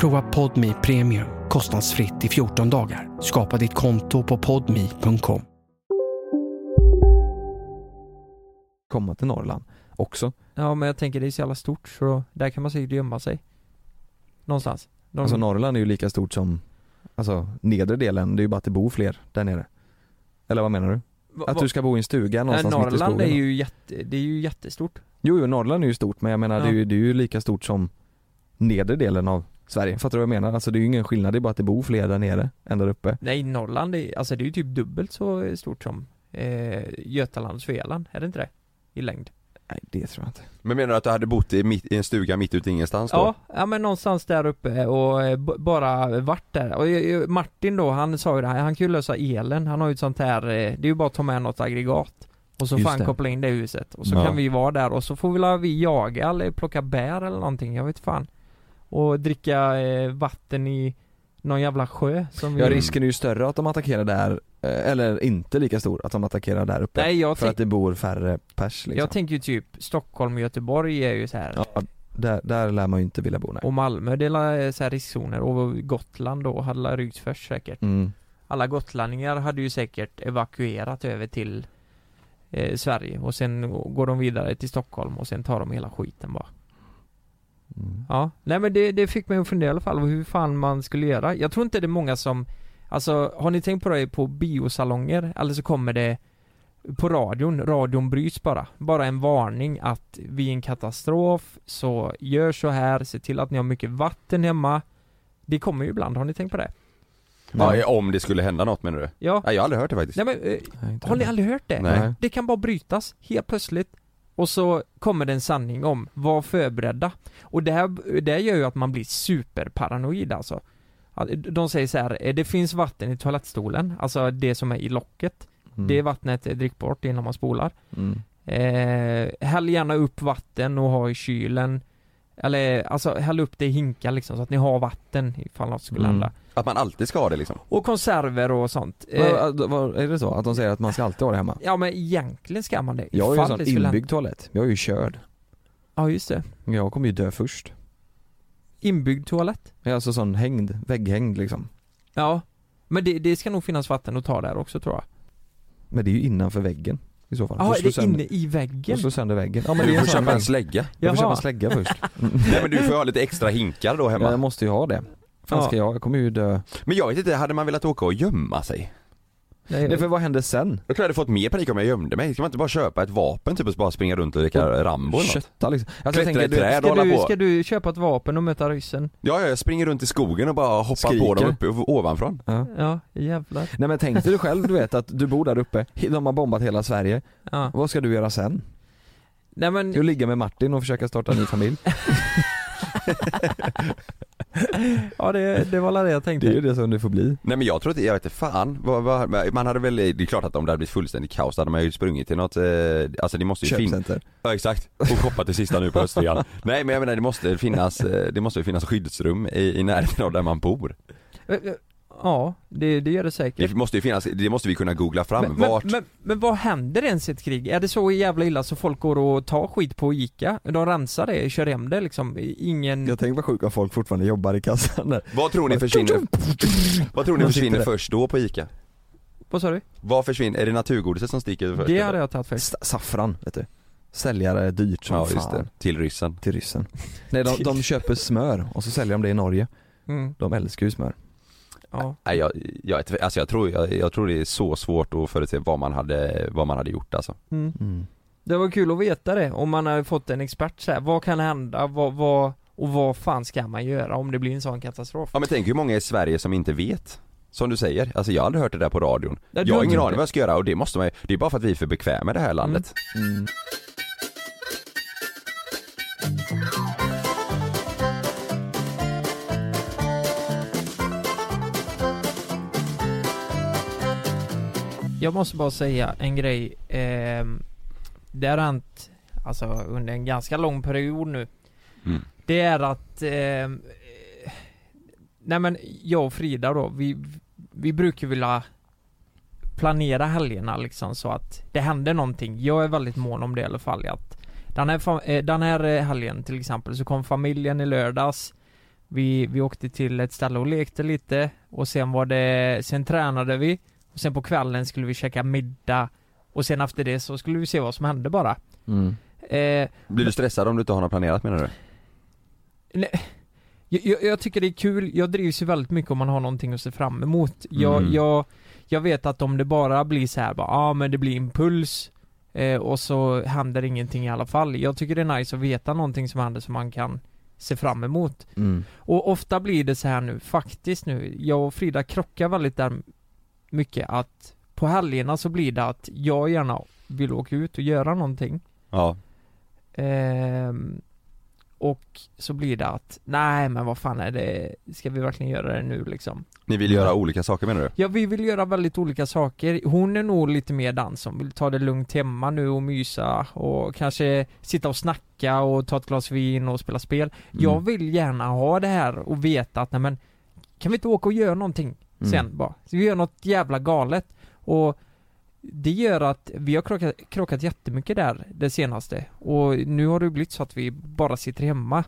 Prova Podmi Premium kostnadsfritt i 14 dagar. Skapa ditt konto på podmi.com.
komma till Norrland också.
Ja men jag tänker det är så jävla stort så där kan man säkert gömma sig. Någonstans. De-
Alltså Norrland är ju lika stort som, alltså nedre delen, det är ju bara att det bor fler där nere. Eller vad menar du?
Va-
Att
va-
du ska bo i en stuga
Nej,
någonstans mitt i
Norrland
skogen?
är ju, jätte, det är ju jättestort.
Jo, jo, Norrland är ju stort men jag menar det, är
Ja.
ju, det är ju lika stort som nedre delen av Sverige, fattar du vad jag menar? Alltså det är ju ingen skillnad, det är bara att det bor fler där nere än där uppe.
Nej Norrland är, alltså det är ju typ dubbelt så stort som eh, Götaland och Svealand, är det inte det? I längd.
Nej det tror jag inte.
Men menar du att du hade bott i, mitt, i en stuga mitt ute i ingenstans då?
Ja, ja men någonstans där uppe och eh, b- bara vart där. Och eh, Martin då, han sa ju det här, han kan ju lösa elen, han har ju ett sånt här, eh, det är ju bara att ta med något aggregat. Och så
Just
får han
det.
koppla in det i huset. Och så
Ja.
kan vi vara där och så får väl vi jaga eller plocka bär eller någonting, jag vet fan. Och dricka eh, vatten i någon jävla sjö som vi...
Ja risken är ju större att de attackerar där, eh, eller inte lika stor att de attackerar där uppe.
Nej, jag
för
tänk-
att det bor färre pers liksom.
Jag tänker ju typ Stockholm och Göteborg är ju så här
Ja, där, där lär man ju inte vilja bo nej.
Och Malmö det är la- eh, så här riskzoner och Gotland då hade la ryckts först säkert
Mm.
Alla gotlänningar hade ju säkert evakuerat över till eh, Sverige och sen går de vidare till Stockholm och sen tar de hela skiten bara
Mm.
Ja, nej men det, det fick mig att fundera i alla fall hur fan man skulle göra Jag tror inte det är många som Alltså har ni tänkt på det på biosalonger eller så kommer det på radion, radion bryts bara. Bara en varning att vid en katastrof så gör så här, se till att ni har mycket vatten hemma. Det kommer ju ibland, har ni tänkt på det?
Ja, om det skulle hända något menar du?
Ja.
Nej, jag har aldrig hört det faktiskt.
Nej men, eh, har ni aldrig hört det?
Nej.
Det kan bara brytas helt plötsligt och så kommer det en sanning om, var förberedda. Och det här, det här gör ju att man blir superparanoid alltså. Att De säger så här, eh, det finns vatten i toalettstolen, alltså det som är i locket.
Mm.
Det vattnet är drickbart innan man spolar.
Mm.
Eh, häll gärna upp vatten och ha i kylen. Eller alltså häll upp det i hinkar liksom så att ni har vatten ifall något
Mm.
skulle hända.
Att man alltid ska ha det liksom?
Och konserver och sånt. Eh,
Vad- vad- är det så? Att de säger att man ska alltid ha det hemma?
ja men egentligen ska man det.
Jag har ju en
ifall
sån
det skulle hända.
inbyggd toalett, jag är ju körd.
Ja just det.
Jag kommer ju dö först.
Inbyggd toalett.
Jag är alltså sån hängd, vägghängd liksom.
Ja. Men det, det ska nog finnas vatten att ta där också tror jag.
Men det är ju innanför väggen i så fall.
Ja,
Då
är
slår
det inne i väggen?
då slår sönder väggen.
Du får köpa en
vägg.
slägga.
Jag får
Jaha.
köpa en slägga först.
Nej men du får ju ha lite extra hinkar då hemma.
Ja, jag måste ju ha det. Fan
Ja.
ska jag, jag kommer ju dö.
Men jag vet inte, hade man velat åka och gömma sig?
Nej,
för vad händer sen?
Jag tror jag hade fått mer panik om jag gömde mig. Ska man inte bara köpa ett vapen typ och bara springa runt och leka Rambo eller något?
Kötta liksom.
Klättra i träd
ska,
och hålla
du,
på.
ska du köpa ett vapen och möta ryssen?
Ja, ja, jag springer runt i skogen och bara hoppar
Skriker.
på dem uppe ovanifrån.
Ja.
Ja, jävlar.
Nej men tänk dig själv du vet att du bor där uppe, de har bombat hela Sverige.
Ja.
Vad ska du göra sen?
Nej men,
Du ligga med Martin och försöka starta en ny familj.
ja det, det var det jag
Det
tänkte.
är ju det som det får bli.
Nej men jag tror inte, jag vet inte fan. Vad, vad, man hade väl, det är klart att om det hade blivit fullständigt kaos då hade man ju sprungit till något, eh, alltså det måste ju finnas
Köpcenter.
Ja exakt, och shoppat det sista nu på Östergötland. Nej men jag menar det måste finnas, eh, det måste ju finnas skyddsrum i, i närheten av där man bor.
Eh, eh, Ja, det, det gör det säkert.
Det måste ju finnas, det måste vi kunna googla fram,
Men, men,
vart
men, men vad händer ens i ett krig? Är det så jävla illa så folk går och tar skit på Ica? De rensar det, kör hem det liksom, ingen...
Jag tänker vad sjukt att folk fortfarande jobbar i kassan där.
Vad tror ni försvinner, vad tror ni
Man sitter
försvinner
där.
först då på ICA?
Vad sa du?
Vad försvinner, är det naturgodiset som sticker först?
Det
eller?
hade jag tagit först.
S- Saffran, vet du. Säljare är dyrt som
Ja just
fan
det, till ryssen.
till ryssen. Nej de, de köper smör och så säljer de det i Norge.
Mm,
De älskar ju smör.
ja.
Nej jag, jag, vet inte, alltså jag tror, jag, jag tror det är så svårt att förutse vad man hade, vad man hade gjort alltså.
Mm. Det var kul att veta det, om man hade fått en expert så här. vad kan hända, vad, vad, och vad fan ska man göra om det blir en sån katastrof?
Ja men tänk hur många i Sverige som inte vet Som du säger, alltså jag har aldrig hört det där på radion
Nej, du
Jag har
har
ingen
inte.
aning vad jag ska göra och det måste man ju- det är bara för att vi är för bekväma i det här landet
Mm.
Jag måste bara säga en grej, ehm, det har hänt, alltså under en ganska lång period nu,
Mm.
det är att, ehm, eh, nej men jag och Frida då, vi, vi brukar vilja planera helgerna liksom så att det händer någonting. Jag är väldigt mån om det i alla fall, att Den här, fa- eh, den här eh, helgen till exempel så kom familjen i lördags vi, vi åkte till ett ställe och lekte lite och sen var det, sen tränade vi och sen på kvällen skulle vi käka middag och sen efter det så skulle vi se vad som hände bara.
Mm.
Eh,
Blir du stressad om du inte har något planerat menar du?
Nej. Jag, jag, jag tycker det är kul, jag drivs ju väldigt mycket om man har någonting att se fram emot. Jag,
Mm.
jag, jag vet att om det bara blir så här, bara, ah, men det blir impuls eh, och så händer ingenting i alla fall. Jag tycker det är nice att veta någonting som händer som man kan se fram emot.
Mm.
Och ofta blir det så här nu, faktiskt nu, jag och Frida krockar väldigt där mycket att på helgerna så blir det att jag gärna vill åka ut och göra någonting.
Ja.
Ehm, och så blir det att, nej men vad fan är det, ska vi verkligen göra det nu liksom?
Ni vill göra olika saker menar du?
Ja vi vill göra väldigt olika saker, hon är nog lite mer den som vill ta det lugnt hemma nu och mysa och kanske sitta och snacka och ta ett glas vin och spela spel Jag vill gärna ha det här och veta att nej men Kan vi inte åka och göra någonting
Mm.
sen bara? Så vi gör något jävla galet och det gör att vi har krockat, krockat jättemycket där det senaste och nu har det blivit så att vi bara sitter hemma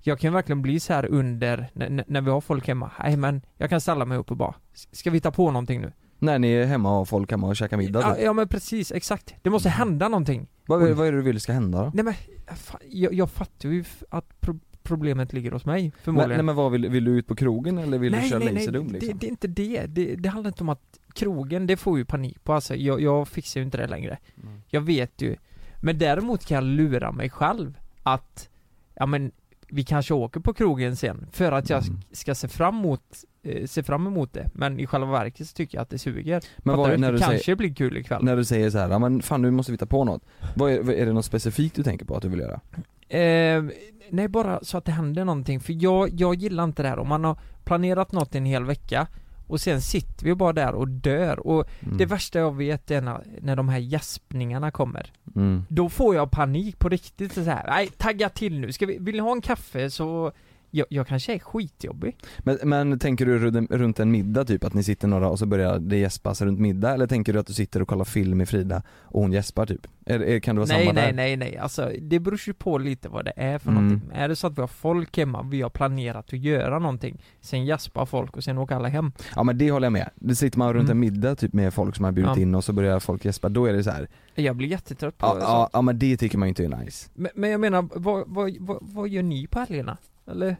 Jag kan verkligen bli så här under, när- när, när vi har folk hemma, nej men jag kan ställa mig upp och bara, "S- ska vi hitta på någonting nu?
När ni är hemma och har folk hemma och käkar middag typ. Mm.
Ja,
då?
ja men precis, exakt, det måste hända någonting
vad, vad är det du vill ska hända då?
Nej men, fan, jag, jag fattar ju f- att pro- problemet ligger hos mig
Men,
förmodligen
nej men vad vill, vill du ut på krogen eller vill du köra Lazy Dome
det,
liksom?
det är inte det. det. Det handlar inte om att krogen, det får ju panik på alltså. jag, jag fixar ju inte det längre.
Mm.
Jag vet ju. Men däremot kan jag lura mig själv att, ja men, vi kanske åker på krogen sen för att jag
Mm.
sk- ska se fram emot, eh, se fram emot det. Men i själva verket så tycker jag att det suger.
Men vad,
Fattar
är-
du?
när
Det
du
kanske
säger,
blir kul ikväll.
När du säger så här, ja men fan nu måste vi hitta på något. Vad är, vad- är det något specifikt du tänker på att du vill göra?
Eh, nej, bara så att det händer någonting. För jag, jag gillar inte det här om man har planerat något en hel vecka och sen sitter vi bara där och dör. Och
Mm.
det värsta jag vet är när, när de här gäspningarna kommer.
mm.
Då får jag panik på riktigt så här. nej tagga till nu, Ska vi, vill ni ha en kaffe så jag, jag kanske är skitjobbig.
Men, men tänker du runt- runt en middag typ, att ni sitter några och så börjar det gäspas runt middag? Eller tänker du att du sitter och kollar film med Frida och hon gäspar typ? Är, är, kan det vara
nej,
samma
nej,
där?
nej, nej, alltså det beror ju på lite vad det är för
Mm.
någonting. Är det så att vi har folk hemma, vi har planerat att göra någonting, sen gäspar folk och sen åker alla hem.
Ja men det håller jag med. Det sitter man runt en middag typ med folk som har bjudit
Mm. Ja.
in och så börjar folk gäspa, då är det så här.
Jag blir jättetrött på
Ja,
det. alltså.
ja, ja men det tycker man ju inte är nice.
Men, men jag menar, vad, vad, vad, vad gör ni på helgerna? Eller?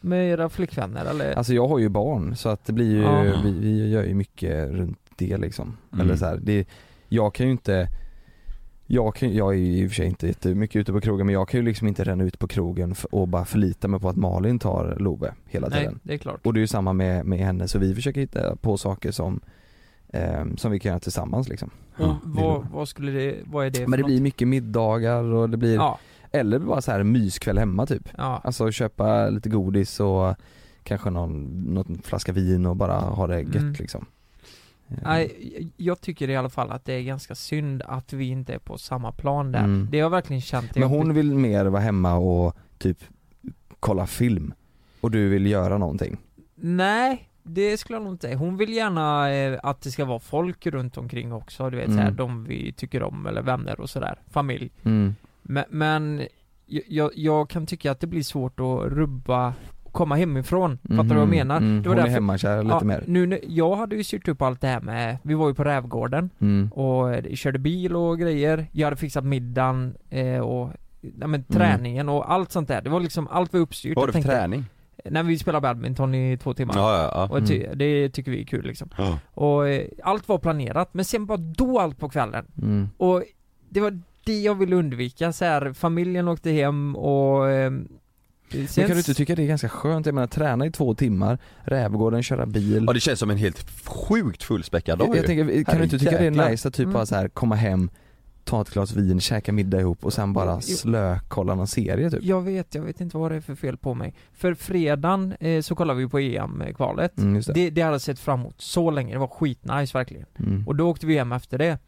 Med era flickvänner eller?
Alltså jag har ju barn så att det blir ju,
Ja.
vi, vi gör ju mycket runt det liksom.
Mm.
Eller så här, det, jag kan ju inte jag, kan, jag är ju i och för sig inte jättemycket ute på krogen men jag kan ju liksom inte ränna ut på krogen f- och bara förlita mig på att Malin tar Love hela
Nej,
tiden.
det är klart.
Och det är ju samma med, med henne så vi försöker hitta på saker som, ehm, som vi kan göra tillsammans liksom.
och vad, vad skulle det, vad är det
Men det blir mycket middagar och det blir,
Ja.
eller bara så här myskväll hemma typ.
Ja.
Alltså köpa lite godis och kanske någon, någon flaska vin och bara ha det gött
Mm.
liksom.
Nej, jag tycker i alla fall att det är ganska synd att vi inte är på samma plan där.
Mm.
Det har jag verkligen känt.
Men hon vill mer vara hemma och typ kolla film och du vill göra någonting.
Nej, det skulle jag nog inte säga. Hon vill gärna eh, att det ska vara folk runt omkring också, du vet
Mm.
så här, de vi tycker om eller vänner och sådär, familj.
Mm.
Men, men jag- jag, jag kan tycka att det blir svårt att rubba komkomma hemifrån, fattar du vad jag
Mhm,
menar?
mm.
Det var
Hon är hemmakär lite
ja,
mer.
Nu, när- jag hade ju styrt upp allt det här med, vi var ju på Rävgården
Mm.
och eh, körde bil och grejer, jag hade fixat middagen eh, och ja, men, träningen
Mm.
och allt sånt där, det var liksom, allt var uppstyrt
Vad
Jag
var det för
tänkte-
träning?
När vi spelar badminton i två timmar
Ja, ja, ja.
Och ty,
Mm.
det tycker vi är kul liksom
Ja.
Och eh, allt var planerat, men sen var då allt på kvällen
Mm.
och det var det jag ville undvika så här, familjen åkte hem och... ehm, sen-
Men kan du inte tycka det är ganska skönt? Jag menar träna i två timmar, Rävgården, köra bil.
Ja det känns som en helt sjukt fullspäckad dag
Jag,
ju.
jag tänker, kan du inte tycka det
Herrejäklar.
är nice att typ
Mm.
bara så här komma hem, ta ett glas vin, käka middag ihop och sen bara slökolla någon serie typ?
Jag vet, jag vet inte vad det är för fel på mig. För fredagen eh, så kollade vi på EM-kvalet.
Mm, just det.
det, hade jag sett fram emot så länge, det var skitnice verkligen.
Mm.
Och då åkte vi hem efter det.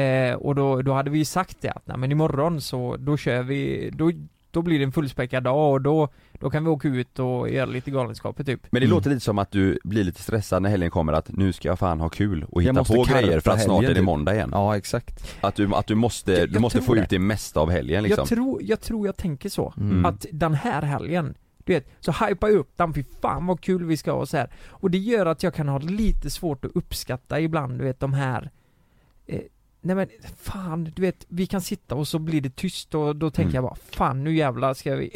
Eh, och då, då hade vi sagt det att nej men imorgon så, då kör vi, då, då blir det en fullspäckad dag och då, då kan vi åka ut och göra lite galenskaper typ.
Men det låter lite som att du blir lite stressad när helgen kommer att nu ska jag fan ha kul och
Jag
hitta
måste
på
karpa
grejer för att snart är
helgen,
det
typ.
måndag igen.
Ja exakt.
Att du, att du måste,
Jag-
du
jag
måste
tror
få
det.
ut det mesta av helgen liksom.
Jag, tror, jag tror jag tänker så.
Mm.
Att den här helgen, du vet, så hypar jag upp den, fy fan vad kul vi ska ha och så här. Och det gör att jag kan ha lite svårt att uppskatta ibland, du vet de här eh, Nej men fan, du vet, vi kan sitta och så blir det tyst och då
Mm.
tänker jag bara Fan nu jävlar ska vi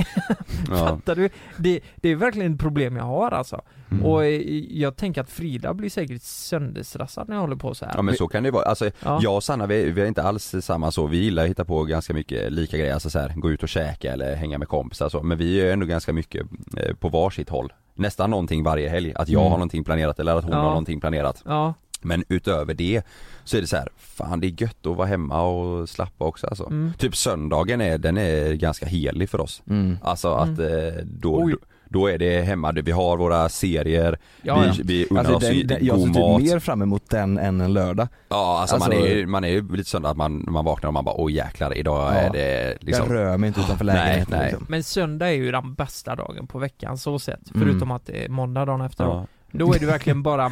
Ja.
Fattar du? Det, det är verkligen ett problem jag har alltså
Mm.
Och eh, jag tänker att Frida blir säkert sönderstressad när jag håller på så här
Ja men så kan det vara, alltså
Ja.
jag och Sanna vi, vi är inte alls samma så, vi gillar att hitta på ganska mycket lika grejer, alltså så här, gå ut och käka eller hänga med kompisar så, men vi är ändå ganska mycket eh, på varsitt håll Nästan någonting varje helg, att jag
Mm.
har någonting planerat eller att hon
Ja.
har någonting planerat
Ja,
Men utöver det så är det så här, fan det är gött att vara hemma och slappa också alltså.
Mm.
Typ söndagen är, den är ganska helig för oss
Mm.
Alltså att eh, då,
Oj.
då, då är det hemma, vi har våra serier,
Ja,
vi,
ja.
vi unnar
Alltså,
oss
den,
ju
den, jag
god
ser
mat
typ mer fram emot den än en lördag.
Ja alltså, man,
Alltså-
är, ju- man är ju lite sån att man, man vaknar och man bara åh jäklar idag
Ja.
är det liksom
Jag rör mig inte utanför lägenheten
Nej, nej.
liksom.
Men söndag är ju den bästa dagen på veckan så sett,
Mm.
förutom att det är måndag dagen efter då.
Ja.
Då är det verkligen bara,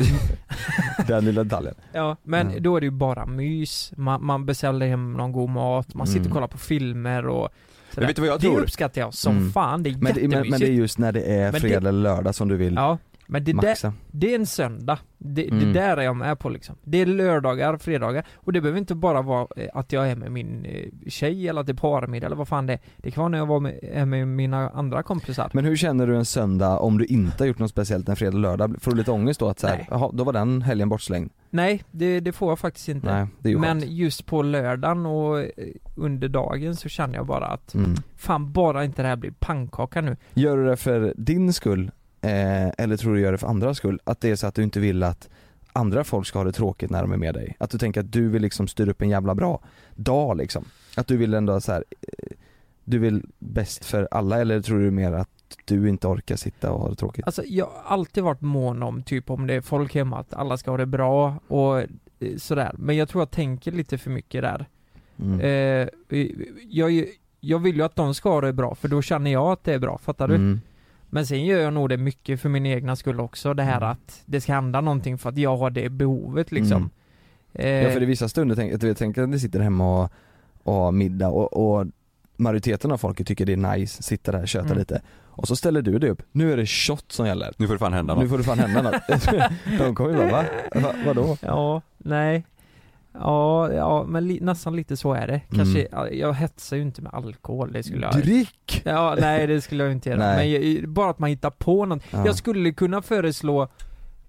Den lilla detaljen.
ja men
Ja.
då är det ju bara mys, man, man beställer hem någon god mat, man sitter
Mm.
och kollar på filmer och sådär.
Men vet du vad jag
Det
tror?
uppskattar jag som
Mm.
fan, det är
Men, det-
jättemysigt.
men, men det är just när det är
Men det-
fredag eller lördag som du vill
Ja, men det, där,
maxa.
det är en söndag. Det,
Mm.
det där är jag med på liksom. Det är lördagar, fredagar och det behöver inte bara vara eh, att jag är med min eh, tjej eller att det är parmiddag eller vad fan det är. Det kan vara när jag var med, är med mina andra kompisar.
Men hur känner du en söndag om du inte har gjort något speciellt en fredag och lördag? Får du lite ångest då att så här,
Nej.
jaha, då var den helgen bortslängd?
Nej, det, det får jag faktiskt inte.
Nej, det är ju
Men
skönt.
just på lördagen och eh, under dagen så känner jag bara att
Mm.
fan bara inte det här blir pannkaka nu.
Gör du det för din skull? Eh, eller tror du gör det för andras skull? Att det är så att du inte vill att andra folk ska ha det tråkigt när de är med dig? Att du tänker att du vill liksom styra upp en jävla bra dag liksom? Att du vill ändå så här, eh, du vill bäst för alla eller tror du mer att du inte orkar sitta och ha det tråkigt?
Alltså jag har alltid varit mån om typ om det är folk hemma att alla ska ha det bra och eh, sådär. Men jag tror jag tänker lite för mycket där.
Mm.
Eh, jag, är ju- jag vill ju att de ska ha det bra för då känner jag att det är bra, fattar du?
Mm.
Men sen gör jag nog det mycket för min egna skull också, det
Mm.
här att det ska hända någonting för att jag har det behovet liksom.
Mm. Ja
Eh,
för i vissa stunder, tänk, du vet, tänk att ni sitter hemma och, och har middag och, och majoriteten av folket tycker det är nice, sitta där och köta
Mm.
lite och så ställer du dig upp, nu är det shot som gäller.
Nu får det fan hända
Nu
något
får det fan hända något. De kommer ju bara va? va? Vadå?
Eh. Ja, nej. Ja, ja men li- nästan lite så är det. Kanske,
Mm.
ja, jag hetsar ju inte med alkohol, det skulle jag
Drick!
Ja, nej det skulle jag inte göra.
Nej.
Men jag, bara att man hittar på något.
Ja.
Jag skulle kunna föreslå,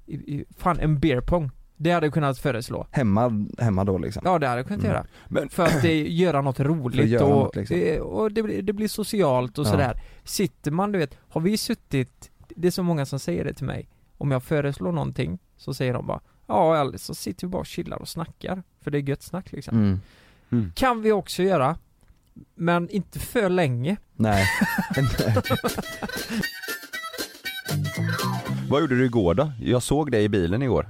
i- i- fan en beer pong. Det hade jag kunnat föreslå.
Hemma, hemma då liksom.
Ja det hade jag kunnat
Mm.
göra.
Men-
För att det, göra något roligt
För att göra
och,
något, liksom.
eh, och det, blir- det blir socialt och
Ja.
sådär. Sitter man du vet, har vi suttit, det är så många som säger det till mig. Om jag föreslår någonting så säger de bara Ja, eller så sitter vi bara och chillar och snackar. För det är gött snack liksom.
Mm.
Kan vi också göra. Men inte för länge.
Nej.
Vad gjorde du igår då? Jag såg dig i bilen igår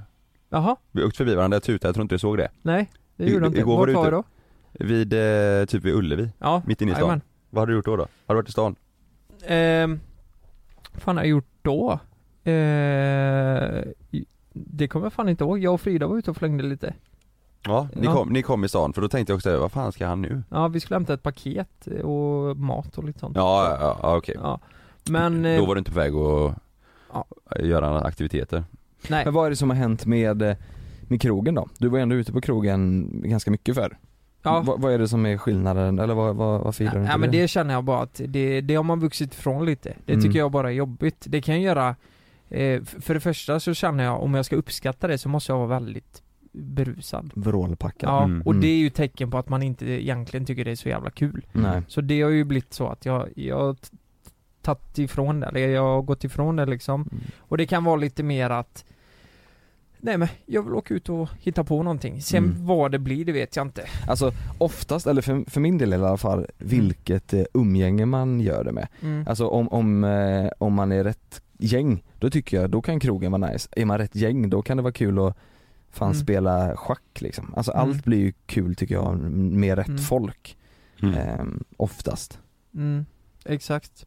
Jaha,
Vi åkte förbi varandra och tutade, jag tror inte du såg det
nej. Det
I-
gjorde jag inte.
igår var
Vart
du
var
ute.
jag då?
Vid, eh, typ vid Ullevi,
Ja,
mitt inne i stan
jajamän.
Vad har du gjort då då? Har du varit i stan?
Ehm, vad fan har jag gjort då? Ehm, i- det kommer jag fan inte ihåg. Jag och Frida var ute och flängde lite.
Ja, ni,
Ja.
Kom, ni kom i stan för då tänkte jag också vad fan ska han nu?
Ja, vi skulle hämta ett paket och mat och lite sånt.
Ja, ja, ja, ja okej
Ja. Men, eh,
Då var du inte på väg att
Ja.
göra några aktiviteter?
nej.
Men vad är det som har hänt med, eh, med krogen då? Du var ju ändå ute på krogen ganska mycket förr.
Ja.
Vad, vad är det som är skillnaden eller vad, vad, varför gillar du inte
Ja, men det känner jag bara att det, det har man vuxit ifrån lite. Det
Mm.
tycker jag bara är jobbigt. Det kan ju göra, eh, f- för det första så känner jag, om jag ska uppskatta det så måste jag vara väldigt berusad.
Vrålpackad.
Ja,
Mm.
och det är ju tecken på att man inte egentligen tycker det är så jävla kul.
Nej.
Så det har ju blivit så att jag, jag har t- tagit ifrån det, eller jag har gått ifrån det liksom.
Mm.
Och det kan vara lite mer att Nej men, jag vill åka ut och hitta på någonting. Sen
Mm.
vad det blir, det vet jag inte.
Alltså oftast, eller för, för min del i alla fall, vilket eh, umgänge man gör det med.
Mm.
Alltså om, om, eh, om man är rätt gäng, då tycker jag, då kan krogen vara nice. Är man rätt gäng, då kan det vara kul att fan
Mm.
spela schack liksom. Alltså
Mm.
allt blir ju kul tycker jag med rätt
Mm.
folk,
Mm.
ehm, oftast.
Mm. exakt.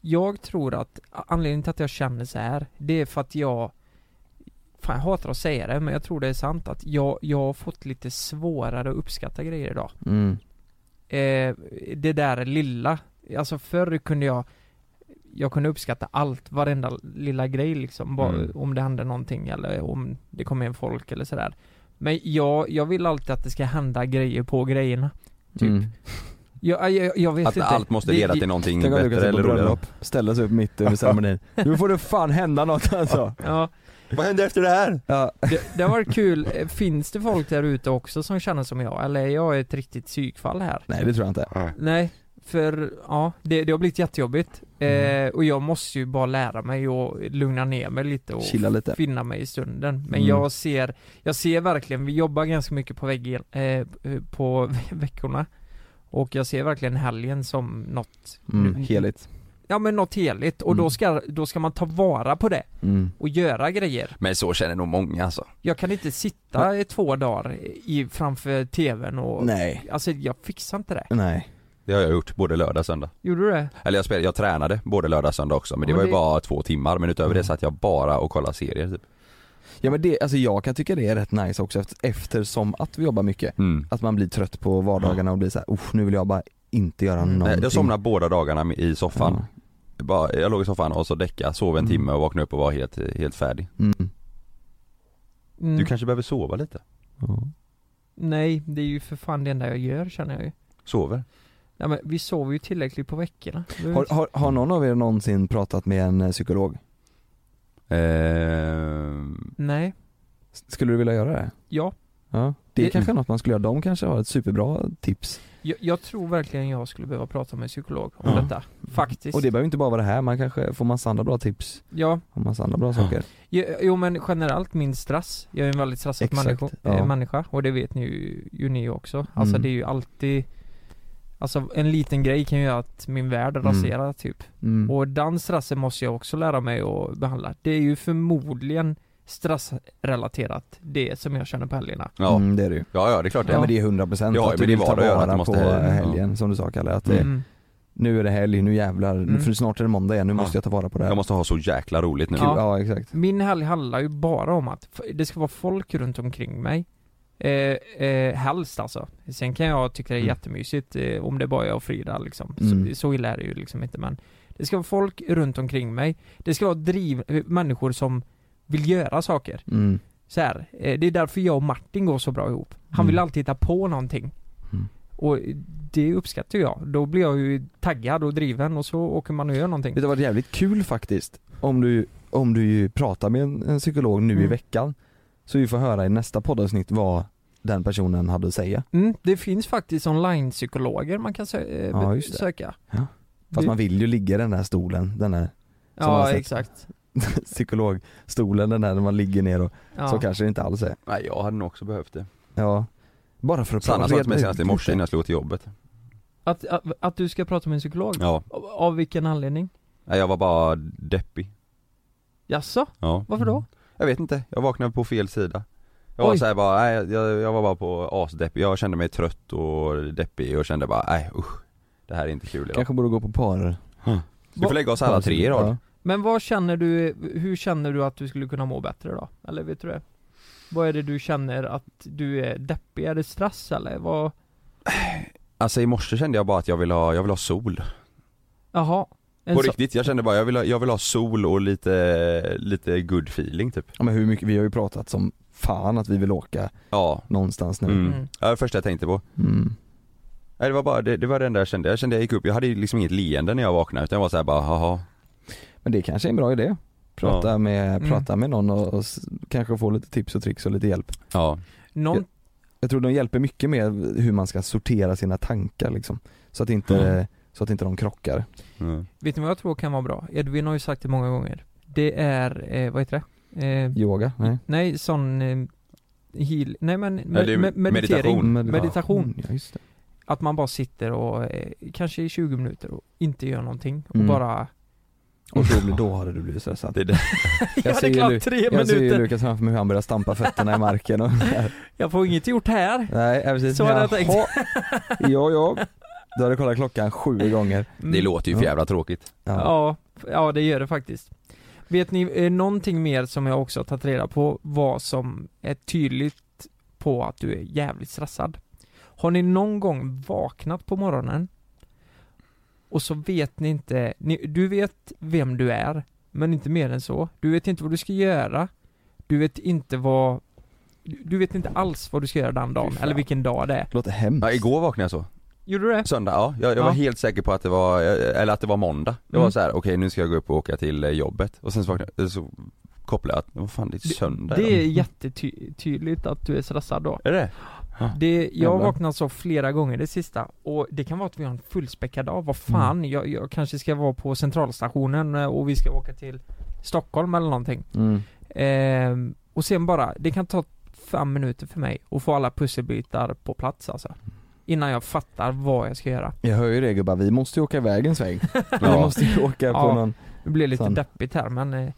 Jag tror att anledningen till att jag känner så här, det är för att jag Fan jag hatar att säga det men jag tror det är sant att jag, jag har fått lite svårare att uppskatta grejer idag
Mm.
eh, det där lilla. Alltså förr kunde jag jag kunde uppskatta allt, varenda lilla grej liksom, bara,
Mm.
om det hände någonting eller om det kom in folk eller sådär. Men jag, jag vill alltid att det ska hända grejer på grejerna. Typ.
Mm.
Jag, jag, jag vet
Att
inte.
allt måste
Det-
leda
det-
till någonting
Tänk om Lukas
bättre
är på
eller roligare.
bröllop, ställer sig upp mitt under ceremonin. Nu får det fan hända något alltså.
Ja.
Vad händer efter det här?
Ja.
Det, det var kul. Eh, Finns det folk där ute också som känner som jag? Eller är jag ett riktigt psykfall här?
Nej det tror jag inte.
Nej, för ja, det, det har blivit jättejobbigt.
Mm.
Eh, och jag måste ju bara lära mig och lugna ner mig lite och
Chilla lite.
finna mig i stunden. Men
Mm.
jag ser, jag ser verkligen, vi jobbar ganska mycket på väggen, eh, på veckorna. Och jag ser verkligen helgen som något
Mm, heligt.
Ja men något heligt och då, ska, då ska man ta vara på det
Mm.
och göra grejer.
Men så känner nog många alltså.
Jag kan inte sitta i två dagar i, framför tvn och
Nej.
Alltså jag fixar inte det.
Nej.
Det har jag gjort både lördag och söndag.
Gjorde du det?
Eller jag, spelade, jag tränade både lördag och söndag också men det Mm.
Ja, men
var ju
det-
bara två timmar men utöver det satt jag bara och kollade serier typ.
Ja men det, alltså jag kan tycka det är rätt nice också efter- eftersom att vi jobbar mycket.
Mm. Eh,
Att man blir trött på vardagarna och blir så här, "Usch, nu vill jag bara inte göra
Mm. Nej,
någonting.
Jag somnade båda dagarna i soffan. Bara, jag låg i soffan och så däckade, sov en timme och vaknade upp och var helt, helt färdig.
Mm.
Du kanske behöver sova lite?
Mm, Nej, det är ju för fan det enda jag gör känner jag ju.
Sover?
Ja, men vi sover ju tillräckligt på veckorna. Vi-
Har, har, har någon av er någonsin pratat med en eh, psykolog?
Ehm,
Nej,
Skulle du vilja göra det?
ja.
Ja. Det är
Det-
kanske är något man skulle göra, de kanske har ett superbra tips.
Jag, jag tror verkligen jag skulle behöva prata med en psykolog om
Ja.
detta. Faktiskt.
Och det behöver inte bara vara det här, man kanske får massa andra bra tips.
Ja.
Och massa andra bra saker.
Jo, jo men generellt min stress, jag är en väldigt stressad
Exakt,
människo,
ja.
eh, människa och det vet ni ju, ju ni också. Alltså
Mm.
det är ju alltid Alltså en liten grej kan ju göra att min värld
Mm.
raserar typ.
Mm.
Och den stressen måste jag också lära mig att behandla. Det är ju förmodligen stressrelaterat det som jag känner på helgerna.
Ja.
Mm, det är det ju.
Ja, ja det är klart det
Ja men det är 100% procent
Ja,
att du
men det
vill
var
ta
det att göra, att
vara
du
på
måste-
helgen som du sa Kalle, att det,
Mm.
nu är det helg, nu jävlar, nu-
Mm.
för snart är det måndag igen, nu måste jag ta vara på det här.
Jag måste ha så jäkla roligt nu.
Kul. Ja, exakt.
Min helg handlar ju bara om att f- det ska vara folk runt omkring mig. Eh, eh, helst alltså. Sen kan jag tycka det är
Mm.
jättemysigt eh, om det bara är jag och Frida liksom.
Mm.
Så, så illa är det ju liksom inte men Det ska vara folk runt omkring mig. Det ska vara driv, eh, människor som vill göra saker.
Mm.
Så här, eh, det är därför jag och Martin går så bra ihop. Han
Mm.
vill alltid hitta på någonting. Och det uppskattar jag. Då blir jag ju taggad och driven och så åker man och gör någonting.
Det hade varit jävligt kul faktiskt om du, om du ju pratar med en, en psykolog nu i
Mm.
veckan så vi får höra i nästa poddavsnitt vad den personen hade att säga.
Mm, det finns faktiskt online-psykologer man kan sö- eh,
Ja, just det.
söka.
Ja. Fast
Det-
man vill ju ligga i den där stolen, den där som
Ja,
har sett-
exakt.
psykologstolen, den där när man ligger ner och
Ja.
så kanske det inte alls är.
Nej jag hade nog också behövt det.
Ja, bara för att
Sanna sa
reda
till mig
ut
senast i
lite.
morse innan jag skulle gå till jobbet.
Att, att, att du ska prata med en psykolog?
Ja.
Av, av vilken anledning?
Nej, jag var bara deppig.
Jaså?
Ja.
Varför
Mm.
då?
Jag vet inte, jag vaknade på fel sida. Jag var
Oj.
så här bara, nej, jag, jag var bara på asdeppig, jag kände mig trött och deppig och kände bara, nej usch. Det här är inte kul idag.
Kanske borde gå på par...
Vi får lägga oss alla tre i rad.
Men vad känner du, hur känner du att du skulle kunna må bättre då? Eller vet du det? Vad är det du känner att du är deppig? Är det stress eller vad?
Alltså i morse kände jag bara att jag vill ha, jag vill ha sol.
Jaha? En
På
så-
riktigt, jag kände bara jag vill ha, jag vill ha sol och lite, lite good feeling typ.
Ja, men hur mycket, vi har ju pratat som fan att vi vill åka
Ja.
någonstans nu.
Mm. Ja, det var det första jag tänkte på.
Mm.
Nej, det var bara, det, det var det enda jag kände. Jag kände jag gick upp, jag hade ju liksom inget leende när jag vaknade utan jag var såhär bara, haha.
Men det kanske är en bra idé. Prata,
Ja.
med,
Mm.
prata med någon och, och s- kanske få lite tips och tricks och lite hjälp.
Ja.
Någon-
jag, jag tror de hjälper mycket med hur man ska sortera sina tankar liksom. Så att inte,
Mm.
så att inte de krockar.
Mm.
Vet ni vad jag tror kan vara bra? Edvin har ju sagt det många gånger. Det är, eh, vad heter det? Eh,
Yoga? Nej.
nej, sån eh, heal, nej men med,
det är
med, meditering.
meditation.
meditation.
Mm, Ja, just det.
Att man bara sitter och eh, kanske i 20 minuter och inte gör någonting och
Mm.
bara
Och då, blir- då hade du blivit stressad.
Det är det.
Ja, det är klart, tre
jag ser ju
minuter.
Lukas framför mig hur han börjar stampa fötterna i marken och
Jag får inget gjort här!
Nej, ja, precis.
Så hade jag
Jaha.
tänkt.
Ja, ja. Du hade kollat klockan sju gånger.
Mm.
Det låter ju för jävla tråkigt.
Ja, ja det gör det faktiskt. Vet ni eh, någonting mer som jag också har tagit reda på vad som är tydligt på att du är jävligt stressad? Har ni någon gång vaknat på morgonen och så vet ni inte, ni, du vet vem du är, men inte mer än så. Du vet inte vad du ska göra, du vet inte vad, du du vet inte alls vad du ska göra den dagen, eller vilken dag det är.
Låter hemskt.
Ja, igår vaknade jag så.
Gjorde du det?
Söndag, ja. Jag, jag var
Ja.
helt säker på att det var, eh, eller att det var måndag. Jag var
Mm.
så här: okej nu ska jag gå upp och åka till eh, jobbet. Och sen så vaknade jag, så kopplade jag att, vad fan det är söndag
Det är
idag.
jättetydligt att du är stressad då.
Är det? Ja.
Det, jag har
Jävlar.
vaknat så flera gånger det sista och det kan vara att vi har en fullspäckad dag, vad fan, jag, jag kanske ska vara på centralstationen eh, och vi ska åka till Stockholm eller någonting.
Mm.
Ehm, och sen bara, det kan ta fem minuter för mig att få alla pusselbitar på plats alltså. Innan jag fattar vad jag ska göra.
Jag hör ju det gubbar, vi måste ju åka iväg en sväng. Vi
Ja.
måste ju åka på
Ja.
någon
Det blir lite
sån.
deppigt här men eh,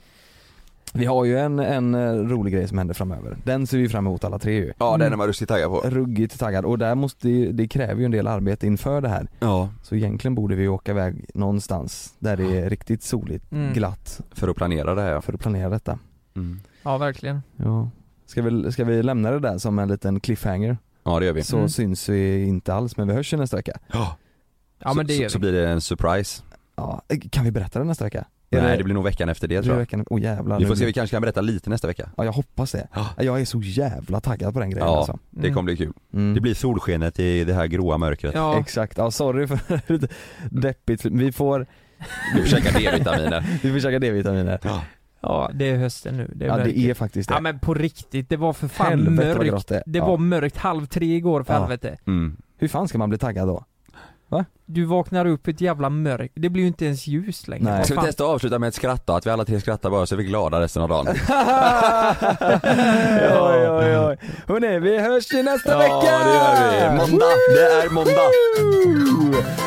Vi har ju en, en eh, rolig grej som händer framöver. Den ser vi fram emot alla tre ju.
Ja den är man ruskigt taggad på.
Ruggigt taggad och där måste ju, det kräver ju en del arbete inför det här.
Ja.
Så egentligen borde vi åka iväg någonstans där det är riktigt soligt,
Mm.
glatt
För att planera det här ja.
för att planera detta.
Mm.
ja verkligen.
Ja. Ska, vi, ska vi lämna det där som en liten cliffhanger?
Ja det gör vi.
Så
Mm.
syns vi inte alls men vi hörs ju nästa vecka.
Ja,
Ja men det
så,
gör
så, så
vi.
blir det en surprise.
Ja, eh, kan vi berätta det nästa vecka? Är
Nej det blir nog veckan efter det
det
tror jag.
veckan? Oh, jävlar,
Vi
nu
får se,
blir-
vi kanske kan berätta lite nästa vecka.
Ja jag hoppas det.
Ja.
Jag är så jävla taggad på den grejen
Ja,
alltså.
det kommer bli kul.
Mm.
Det blir solskenet i det här gråa mörkret.
Ja,
Exakt, ja sorry för ett deppigt, vi får,
Vi får käka D-vitaminer.
vi får käka D-vitaminer.
Ja.
ja det är hösten nu. Det är
Ja det
verkligen-
är faktiskt det.
Ja men på riktigt, det var för fan
Helvete vad grått
mörkt.
det är.
Det,
Ja.
var mörkt halv tre igår för
Ja.
helvete.
Mm.
Hur fan ska man bli taggad då?
Du vaknar upp i ett jävla mörk, det blir ju inte ens ljus längre.
Nej.
Vad
Ska vi
fan?
testa att avsluta med ett skratt då? Att vi alla tre skrattar bara så är vi glada resten av dagen.
oj, oj, oj. Hörrni, vi hörs ju nästa
Ja,
vecka!
det gör vi. Måndag. Det är måndag.
Woo!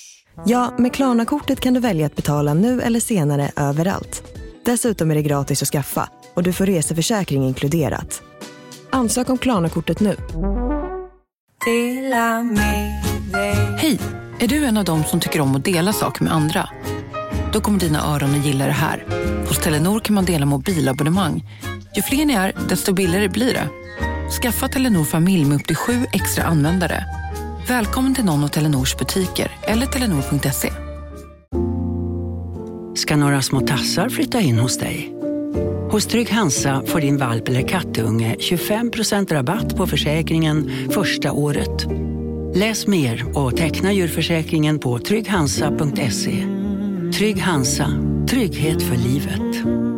Ja, med Klarna-kortet kan du välja att betala nu eller senare överallt. Dessutom är det gratis att skaffa och du får reseförsäkring inkluderat. Ansök om Klarna-kortet nu.
Hej! Är du en av dem som tycker om att dela saker med andra? Då kommer dina öron att gilla det här. Hos Telenor kan man dela mobilabonnemang. Ju fler ni är, desto billigare blir det. Skaffa Telenor familj med upp till sju extra användare. Välkommen till någon av Telenors butiker eller telenor.se.
ska några små tassar flytta in hos dig. Hos Trygg Hansa får din valp eller kattunge 25% rabatt på försäkringen första året. Läs mer och teckna djurförsäkringen på trygghansa.se. Trygg Hansa, trygghet för livet.